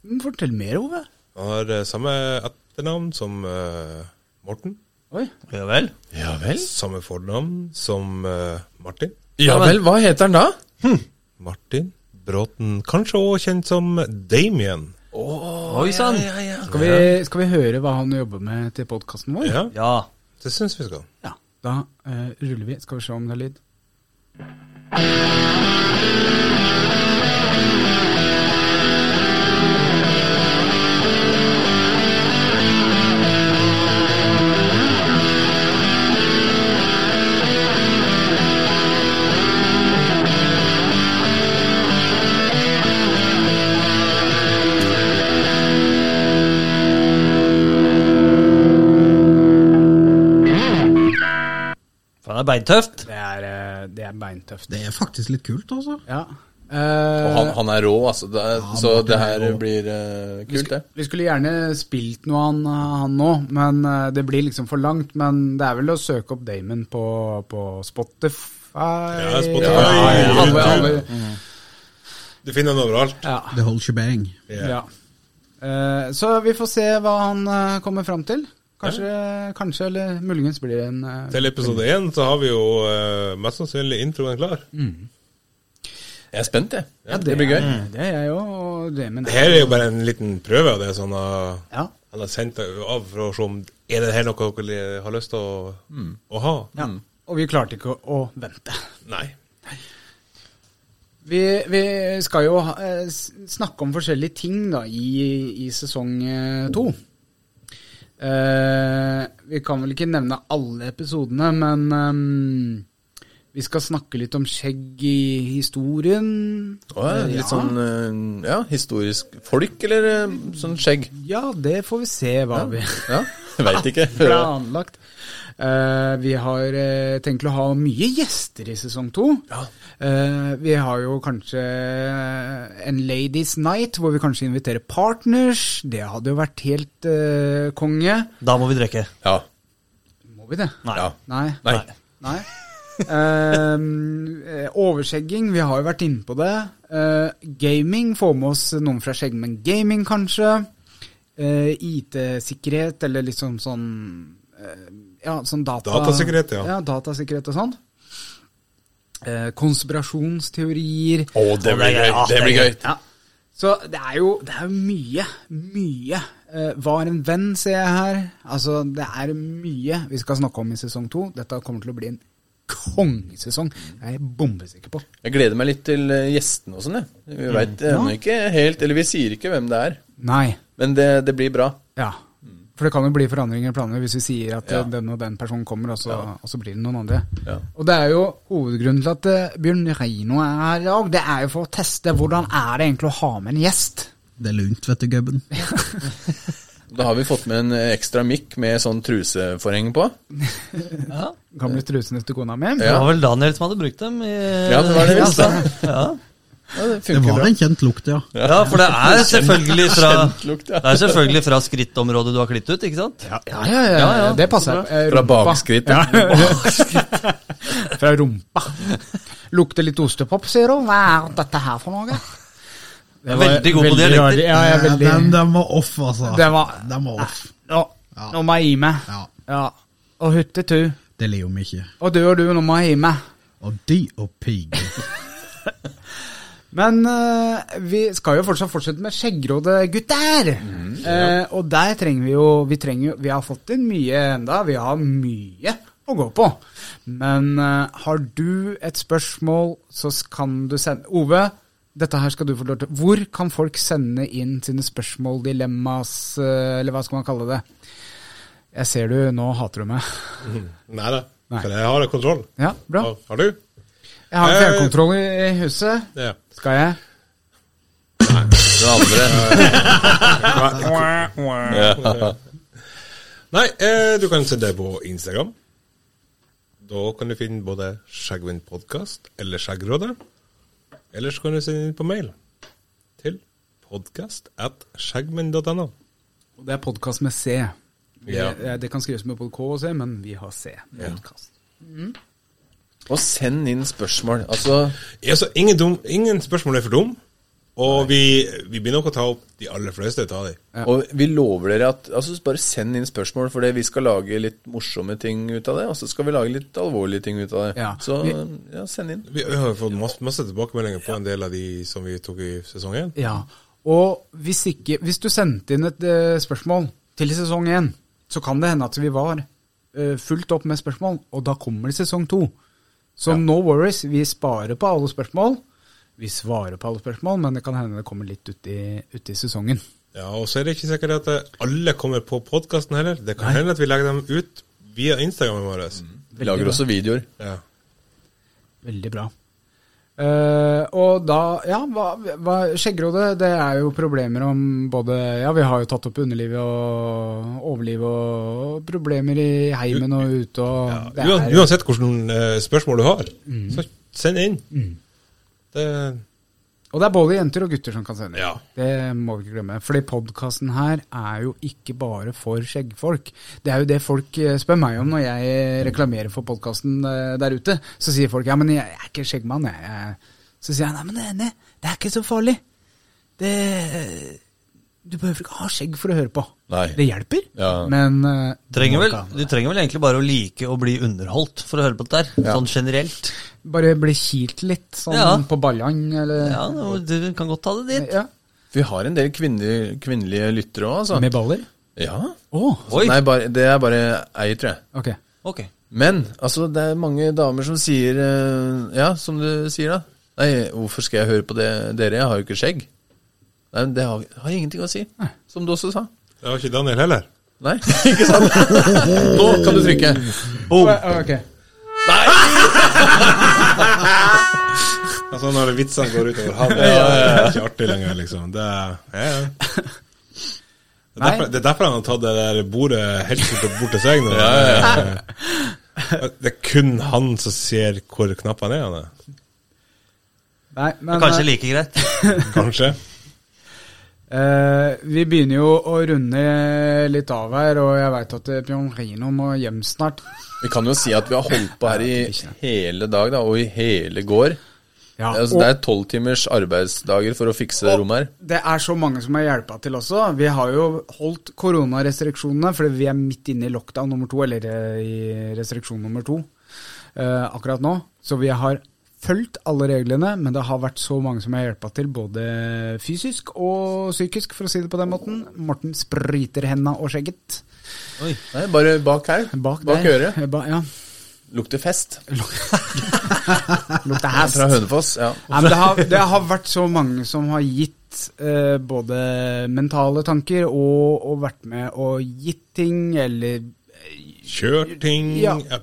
[SPEAKER 1] Mm, Fortell mer, Ove.
[SPEAKER 2] Han har eh, samme etternavn som eh, Morten.
[SPEAKER 1] Oi.
[SPEAKER 4] Ja vel.
[SPEAKER 3] Ja vel.
[SPEAKER 2] Samme fornavn som eh, Martin.
[SPEAKER 3] Ja vel, Hva heter han da?
[SPEAKER 2] Martin Bråten, kanskje òg kjent som Damien.
[SPEAKER 4] Oi sann.
[SPEAKER 1] Skal vi, skal vi høre hva han jobber med til podkasten vår?
[SPEAKER 2] Ja,
[SPEAKER 4] Ja.
[SPEAKER 2] det syns vi skal.
[SPEAKER 1] Ja. Da eh, ruller vi. Skal vi se om det er lyd.
[SPEAKER 4] er beintøft.
[SPEAKER 1] Det er, eh, det er beintøft.
[SPEAKER 5] Det er faktisk litt kult, altså.
[SPEAKER 1] Ja.
[SPEAKER 3] Og
[SPEAKER 1] Eh,
[SPEAKER 3] han, han er rå, altså. Det er,
[SPEAKER 5] han
[SPEAKER 3] så
[SPEAKER 5] Martin
[SPEAKER 3] det
[SPEAKER 5] er
[SPEAKER 3] her
[SPEAKER 5] rå.
[SPEAKER 3] blir eh,
[SPEAKER 1] vi,
[SPEAKER 3] kult,
[SPEAKER 1] skulle,
[SPEAKER 3] det.
[SPEAKER 1] vi skulle gjerne spilt noe han, han nå, men eh, det blir liksom for langt. Men det er vel å søke opp Damon på, på Spotify
[SPEAKER 2] Ja, Spotify,
[SPEAKER 1] alle- alle-
[SPEAKER 2] Du finner den overalt.
[SPEAKER 1] ja.
[SPEAKER 5] The whole shebang.
[SPEAKER 1] Ja. Eh, så vi får se hva han eh, kommer fram til. Kanskje, kanskje eller muligens blir det en eh,
[SPEAKER 2] Til episode én så har vi jo eh, mest sannsynlig introen klar.
[SPEAKER 3] Jeg er spent, jeg.
[SPEAKER 1] ja,
[SPEAKER 3] det blir gøy.
[SPEAKER 1] er- Det er jeg jo, og det men
[SPEAKER 2] Det her er jo bare en liten prøve av det som han har-
[SPEAKER 1] Ja.
[SPEAKER 2] han har sendt deg av for å se om er det her noe dere har lyst til å,
[SPEAKER 3] Mm.
[SPEAKER 2] å ha.
[SPEAKER 1] Ja. Og vi klarte ikke å, å vente.
[SPEAKER 2] Nei.
[SPEAKER 1] Vi, vi skal jo ha- eh, s- snakke om forskjellige ting da, i, i sesong eh, to. Eh, vi kan vel ikke nevne alle episodene, men ehm, vi skal snakke litt om skjegg i historien.
[SPEAKER 3] Å, ja,
[SPEAKER 1] Eh,
[SPEAKER 3] litt
[SPEAKER 1] ja.
[SPEAKER 3] sånn eh, ja, historisk folk, eller eh, sånn skjegg?
[SPEAKER 1] Ja, det får vi se hva vi
[SPEAKER 3] Ja, Veit ikke.
[SPEAKER 1] planlagt. Eh, vi har eh, tenkt å ha mye gjester i sesong to. Eh, vi har jo kanskje eh, en Ladies Night, hvor vi kanskje inviterer partners. Det hadde jo vært helt eh, konge.
[SPEAKER 4] Da må vi drikke.
[SPEAKER 3] Ja.
[SPEAKER 1] Må vi det?
[SPEAKER 4] Nei.
[SPEAKER 3] ja.
[SPEAKER 1] Nei.
[SPEAKER 3] Nei.
[SPEAKER 1] Nei. Ehm, eh, overskjegging, vi har jo vært inne på det. Eh, gaming, få med oss noen fra Skjeggmenn Gaming, kanskje. Eh, IT-sikkerhet, eller liksom sånn eh, Ja, sånn data...
[SPEAKER 2] Datasikkerhet, ja.
[SPEAKER 1] ja datasikkerhet og sånn. Eh, konspirasjonsteorier.
[SPEAKER 3] Å, det
[SPEAKER 4] Å, det er
[SPEAKER 3] blir
[SPEAKER 4] gøy.
[SPEAKER 3] gøy.
[SPEAKER 4] Ja,
[SPEAKER 3] Det
[SPEAKER 4] det er
[SPEAKER 3] blir gøy.
[SPEAKER 1] Ja. Så det er jo det er jo mye, mye. Eh, var en venn, ser jeg her. Altså, det er mye vi skal snakke om i sesong to. Dette kommer til å bli en kongesesong.
[SPEAKER 3] Mm.
[SPEAKER 1] Det er jeg bombesikker på.
[SPEAKER 3] Jeg gleder meg litt til eh, gjestene og sånn, jeg. Vi veit ennå ikke helt Eller vi sier ikke hvem det er,
[SPEAKER 1] Nei.
[SPEAKER 3] men det, det blir bra.
[SPEAKER 1] Ja. For det kan jo bli forandringer i planene hvis vi sier at
[SPEAKER 3] Mm. Ja.
[SPEAKER 1] eh, den og den personen kommer, og så, og så blir det noen andre.
[SPEAKER 3] Ja.
[SPEAKER 1] Og det er jo hovedgrunnen til at eh, Bjørn Reino er her i dag. Det er jo for å teste hvordan er det egentlig å ha med en gjest.
[SPEAKER 5] Det er lunt, vet du, gubben.
[SPEAKER 3] Da har vi fått med en eh, ekstra mikk med sånn truseforheng på.
[SPEAKER 4] Ja.
[SPEAKER 1] Gamle trusene til kona mi.
[SPEAKER 4] Det
[SPEAKER 3] Ja.
[SPEAKER 4] var vel Daniel som hadde brukt dem. I,
[SPEAKER 3] Ja, det var det vi
[SPEAKER 4] Ja,
[SPEAKER 3] sa.
[SPEAKER 4] Ja.
[SPEAKER 3] Ja, det
[SPEAKER 5] Det
[SPEAKER 3] funker
[SPEAKER 5] var
[SPEAKER 3] bra.
[SPEAKER 5] en kjent lukt, ja.
[SPEAKER 4] ja, for det er selvfølgelig fra
[SPEAKER 3] Kjent lukt, ja.
[SPEAKER 4] Det er selvfølgelig fra skrittområdet du har klitt ut, ikke sant?
[SPEAKER 1] Ja, ja, ja, ja,
[SPEAKER 4] Ja, ja.
[SPEAKER 1] det passer. Eh,
[SPEAKER 3] Fra
[SPEAKER 1] rumpa.
[SPEAKER 3] bakskritt.
[SPEAKER 1] Ja. Fra rumpa. Lukter litt ostepop, sier hun. Hva er dette her for noe? Det var
[SPEAKER 4] Veldig god på
[SPEAKER 1] veldig
[SPEAKER 4] dialekter.
[SPEAKER 1] rart. Ja, jeg er veldig
[SPEAKER 5] Eh, den, den var off, altså.
[SPEAKER 1] Den var- Ah.
[SPEAKER 5] Den var off.
[SPEAKER 1] Nå, nå må jeg gi meg.
[SPEAKER 5] Ja.
[SPEAKER 1] Ja. Og huttetu.
[SPEAKER 5] Det ler vi ikke.
[SPEAKER 1] Og du og du, nå må jeg gi meg.
[SPEAKER 5] Og de og pig.
[SPEAKER 1] Men eh, vi skal jo fortsatt fortsette med Skjeggråde gutter. Eh, og der trenger vi jo vi, trenger, jo- vi har fått inn mye enda, vi har mye å gå på. Men eh, har du et spørsmål, så s- kan du sende Ove, dette her skal du få lov til. Hvor kan folk sende inn sine spørsmål, dilemmas, eh, eller hva skal man kalle det? Jeg ser du, nå hater du meg.
[SPEAKER 2] Nei da.
[SPEAKER 1] Nei.
[SPEAKER 2] For jeg har kontroll.
[SPEAKER 1] Ja, bra.
[SPEAKER 2] Har- Har du?
[SPEAKER 1] Jeg har
[SPEAKER 2] Eh,
[SPEAKER 1] fjernkontroll i i huset.
[SPEAKER 2] Ja.
[SPEAKER 1] Skal jeg?
[SPEAKER 3] Det andre. Ja.
[SPEAKER 2] Nei, eh, du kan sende det på Instagram. Da kan du finne både Skjeggvind podkast eller Skjeggrådet. Eller så kan du sende inn på mail til podcast at skjeggmenn.no.
[SPEAKER 1] Og Det er podkast med C. Vi,
[SPEAKER 2] Ja.
[SPEAKER 1] eh, Det kan skrives med både K og C, men vi har C. Podcast.
[SPEAKER 3] Og send inn spørsmål. Altså,
[SPEAKER 2] Ja, så ingen, dum, ingen spørsmål er for dum, og vi, vi begynner nok å ta opp de aller fleste av de.
[SPEAKER 3] og vi lover dere at altså, Bare send inn spørsmål, for det- vi skal lage litt morsomme ting ut av det. Og så skal vi lage litt alvorlige ting ut av det.
[SPEAKER 1] Ja.
[SPEAKER 3] Så
[SPEAKER 1] Vi-
[SPEAKER 3] ja, send inn.
[SPEAKER 2] Vi har jo fått masse, masse tilbakemeldinger på en del av de som vi tok i sesong én.
[SPEAKER 1] Ja. Og hvis, ikke, hvis du sendte inn et eh, spørsmål til sesong én, så kan det hende at vi var eh, fullt opp med spørsmål, og da kommer det sesong to. Så no worries, vi sparer på alle spørsmål. Vi svarer på alle spørsmål, men det kan hende det kommer litt ut i, ut i sesongen.
[SPEAKER 2] Ja, og så er det ikke sikkert at eh, alle kommer på podkasten heller. Det kan hende at vi legger dem ut
[SPEAKER 1] Mm.
[SPEAKER 2] via Instagramen vår.
[SPEAKER 3] Vi lager også videoer.
[SPEAKER 2] Ja.
[SPEAKER 1] Veldig bra. Eh, og da Ja, hva, hva, skjeggeråde, det er jo problemer om både Ja, vi har jo tatt opp underlivet og overlivet og, og problemer i heimen og ute og det er- Mm.
[SPEAKER 2] Uan- Uansett hvilke spørsmål du har, så send inn. Det,
[SPEAKER 1] Og det er både jenter og gutter som kan sende.
[SPEAKER 2] Ja.
[SPEAKER 1] Det må vi ikke glemme. Fordi podkasten her er jo ikke bare for skjeggfolk. Det er jo det folk eh, spør meg om når jeg reklamerer for podkasten der ute. Så sier folk ja, men jeg er ikke skjeggmann. Jeg. jeg. Så sier jeg nei, men det, det, det er ikke så farlig. Det, du behøver ikke ha skjegg for å høre på.
[SPEAKER 3] Nei.
[SPEAKER 1] Det hjelper,
[SPEAKER 3] Ja.
[SPEAKER 1] men eh,
[SPEAKER 4] Trenger
[SPEAKER 1] du må
[SPEAKER 4] vel,
[SPEAKER 1] ikke ha-
[SPEAKER 4] du trenger vel egentlig bare å like å bli underholdt for å høre på det der, sånn generelt.
[SPEAKER 1] Bare bli kilt litt, sånn
[SPEAKER 4] Ja.
[SPEAKER 1] på ballene, eller
[SPEAKER 4] Ja, Du kan godt ta det dit.
[SPEAKER 1] Ja.
[SPEAKER 3] Vi har en del kvinnelige, kvinnelige lyttere òg, altså.
[SPEAKER 1] Med baller?
[SPEAKER 3] Ja.
[SPEAKER 1] Å,
[SPEAKER 4] Oi,
[SPEAKER 3] Nei, bare, det er bare ei, tror jeg.
[SPEAKER 1] ok.
[SPEAKER 4] ok.
[SPEAKER 3] Men altså, det er mange damer som sier eh, Ja, som du sier, da. Nei, hvorfor skal jeg høre på det, dere? Jeg har jo ikke skjegg. Nei, men Det har, har ingenting å si, som du også sa.
[SPEAKER 2] det var ikke Daniel heller.
[SPEAKER 3] Nei, ikke sant? Nå kan du trykke.
[SPEAKER 4] Oh.
[SPEAKER 1] Ok.
[SPEAKER 2] Altså Når vitsene går utover han, det er ikke artig lenger, liksom. Det er, ja, ja. Det er,
[SPEAKER 1] Nei.
[SPEAKER 2] derfor, det er derfor han har tatt det der bordet helt bort, bort til seg nå. Det er kun han som ser hvor knappene er. Han.
[SPEAKER 1] Nei, men
[SPEAKER 4] Kanskje
[SPEAKER 1] eh,
[SPEAKER 4] like greit.
[SPEAKER 2] er. Kanskje.
[SPEAKER 1] Eh, vi begynner jo å runde litt av her, og jeg veit at eh, Bjørn Rino må hjem snart.
[SPEAKER 3] Vi kan jo si at vi har holdt på her i hele dag, da, og i hele går.
[SPEAKER 1] Ja,
[SPEAKER 3] Altså,
[SPEAKER 1] og
[SPEAKER 3] det er tolv timers arbeidsdager for å fikse det rommet her.
[SPEAKER 1] det er så mange som har hjelpa til også. Vi har jo holdt koronarestriksjonene, fordi vi er midt inne i lockdown nummer to, eller eh, i restriksjon nummer to eh, akkurat nå. Så vi har fulgt alle reglene, men det har vært så mange som har hjelpa til, både fysisk og psykisk, for å si det på den måten. Morten spriter henda og skjegget.
[SPEAKER 3] Nei, bare bak her.
[SPEAKER 1] Bak, der.
[SPEAKER 3] øret.
[SPEAKER 1] Ba, ja.
[SPEAKER 3] Lukter fest.
[SPEAKER 1] Lukter hest.
[SPEAKER 3] Fra Hønefoss. Ja.
[SPEAKER 1] Nei, men det, har, det har vært så mange som har gitt eh, både mentale tanker og, og vært med og gitt ting, eller eh,
[SPEAKER 2] Kjør ting
[SPEAKER 1] Ja.
[SPEAKER 2] ja.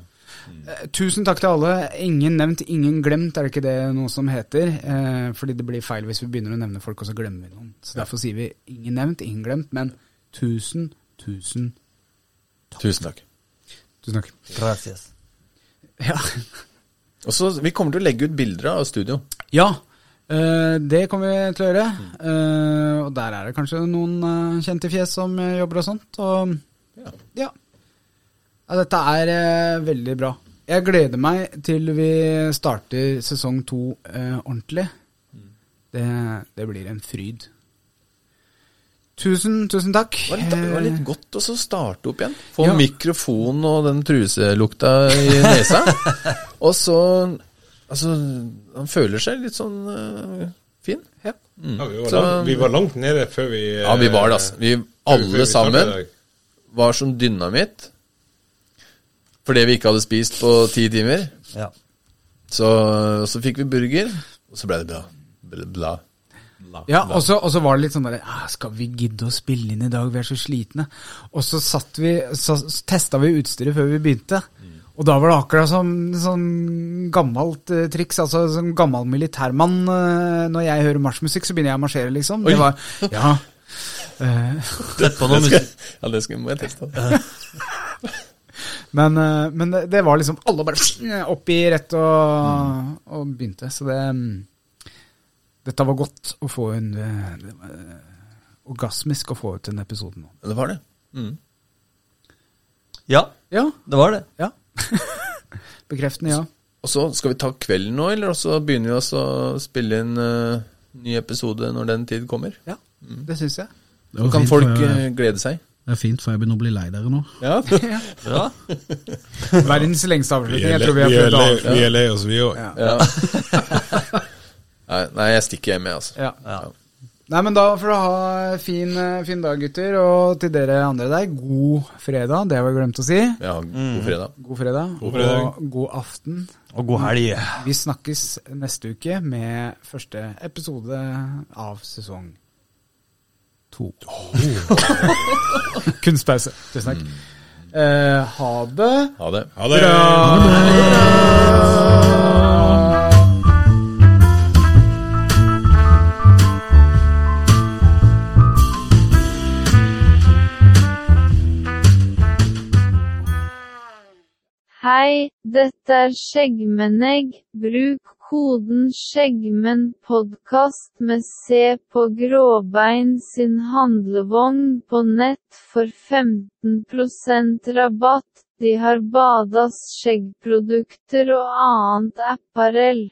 [SPEAKER 1] Eh, Tusen takk til alle. Ingen nevnt, ingen glemt, er det ikke det noe som heter? Eh, fordi det blir feil hvis vi begynner å nevne folk, og så glemmer vi noen. Så derfor sier vi ingen nevnt, ingen glemt, men tusen, tusen,
[SPEAKER 3] Tusen takk.
[SPEAKER 1] tusen takk.
[SPEAKER 4] Gracias.
[SPEAKER 1] Ja,
[SPEAKER 3] Og så, Vi kommer til å legge ut bilder av studio.
[SPEAKER 1] ja eh, det kommer vi til å gjøre. Eh, og der er det kanskje noen eh, kjente fjes som eh, jobber og sånt. Og Ja. ja dette er eh, veldig bra. Jeg gleder meg til vi starter sesong to eh, ordentlig.
[SPEAKER 3] Mm.
[SPEAKER 1] Det, det blir en fryd. Tusen, tusen takk.
[SPEAKER 3] Det var litt, det var litt
[SPEAKER 1] Eh,
[SPEAKER 3] godt også å starte opp igjen. Få
[SPEAKER 1] Ja.
[SPEAKER 3] mikrofon og den truselukta i nesa. og så Altså, han føler seg litt sånn øh, fin. Ja. Mm.
[SPEAKER 2] Ja, vi, var
[SPEAKER 3] Så-
[SPEAKER 2] langt, vi var langt nede før vi eh,
[SPEAKER 3] Ja, vi var det, altså. Vi
[SPEAKER 2] før vi- før
[SPEAKER 3] alle
[SPEAKER 2] vi startet i
[SPEAKER 3] sammen
[SPEAKER 2] dag.
[SPEAKER 3] var som dynamitt. For det vi ikke hadde spist på ti timer.
[SPEAKER 4] Ja.
[SPEAKER 3] Så, så fikk vi burger, og så ble det bra. Bla, bla.
[SPEAKER 1] Ja, og så og så var det litt sånn der «Ah, Skal vi gidde å spille inn i dag, vi er så slitne. Og så, satt vi, så testa vi utstyret før vi begynte. Og da var det akkurat som sånn gammelt eh, triks, altså som gammel militærmann. eh, når jeg hører marsjmusikk, så begynner jeg å marsjere, liksom. Det
[SPEAKER 3] Oi.
[SPEAKER 1] var, ja. Eh,
[SPEAKER 4] Sett på noe
[SPEAKER 3] Det skal,
[SPEAKER 4] musikk.
[SPEAKER 3] ja, det skal, må jeg teste.
[SPEAKER 1] men, eh, men det, det var liksom alle bare opp i rett og, og begynte. Så det mm, Dette var godt å få en eh, det var, eh, Orgasmisk å få ut en episode nå.
[SPEAKER 3] Det var det. Mm.
[SPEAKER 4] Ja,
[SPEAKER 1] Ja,
[SPEAKER 4] det var det.
[SPEAKER 1] Ja. Bekreftende ja.
[SPEAKER 3] Og så skal vi ta kvelden nå, eller så begynner vi også å spille inn eh, ny episode når den tid kommer.
[SPEAKER 1] Ja, Mm. det syns jeg.
[SPEAKER 5] Det
[SPEAKER 3] Så
[SPEAKER 5] var
[SPEAKER 3] kan
[SPEAKER 5] fint,
[SPEAKER 3] folk
[SPEAKER 5] for jeg-
[SPEAKER 3] eh, glede seg.
[SPEAKER 5] Det er fint, for jeg begynner å bli lei dere nå.
[SPEAKER 3] Ja.
[SPEAKER 4] Bra.
[SPEAKER 1] Verdens lengste
[SPEAKER 2] Vi
[SPEAKER 1] avslutning.
[SPEAKER 2] er
[SPEAKER 1] Jeg
[SPEAKER 2] lei-
[SPEAKER 1] tror vi
[SPEAKER 2] vi
[SPEAKER 1] har
[SPEAKER 2] er
[SPEAKER 1] prøvd å
[SPEAKER 2] lei- vi er lei oss, vi òg.
[SPEAKER 1] Ja.
[SPEAKER 3] Nei, nei, jeg stikker hjem, jeg, altså.
[SPEAKER 1] Ja.
[SPEAKER 4] Ja.
[SPEAKER 1] Nei, men da får du ha fin, eh, fin dag, gutter. Og til dere andre der, god fredag. Det har vi glemt å si.
[SPEAKER 3] Ja, god fredag.
[SPEAKER 1] God fredag,
[SPEAKER 2] God fredag.
[SPEAKER 1] og god aften.
[SPEAKER 4] Og god helg.
[SPEAKER 1] Vi snakkes neste uke med første episode av sesong to.
[SPEAKER 2] Oh.
[SPEAKER 1] Kunstpause. Tusen takk.
[SPEAKER 2] Mm.
[SPEAKER 1] Eh, ha det.
[SPEAKER 3] Ha det.
[SPEAKER 2] Ha det!
[SPEAKER 7] Hei, dette er Skjeggmennegg. Bruk koden skjeggmennpodkast med C på Gråbein sin handlevogn på nett for 15 rabatt. De har Badas skjeggprodukter og annet apparell.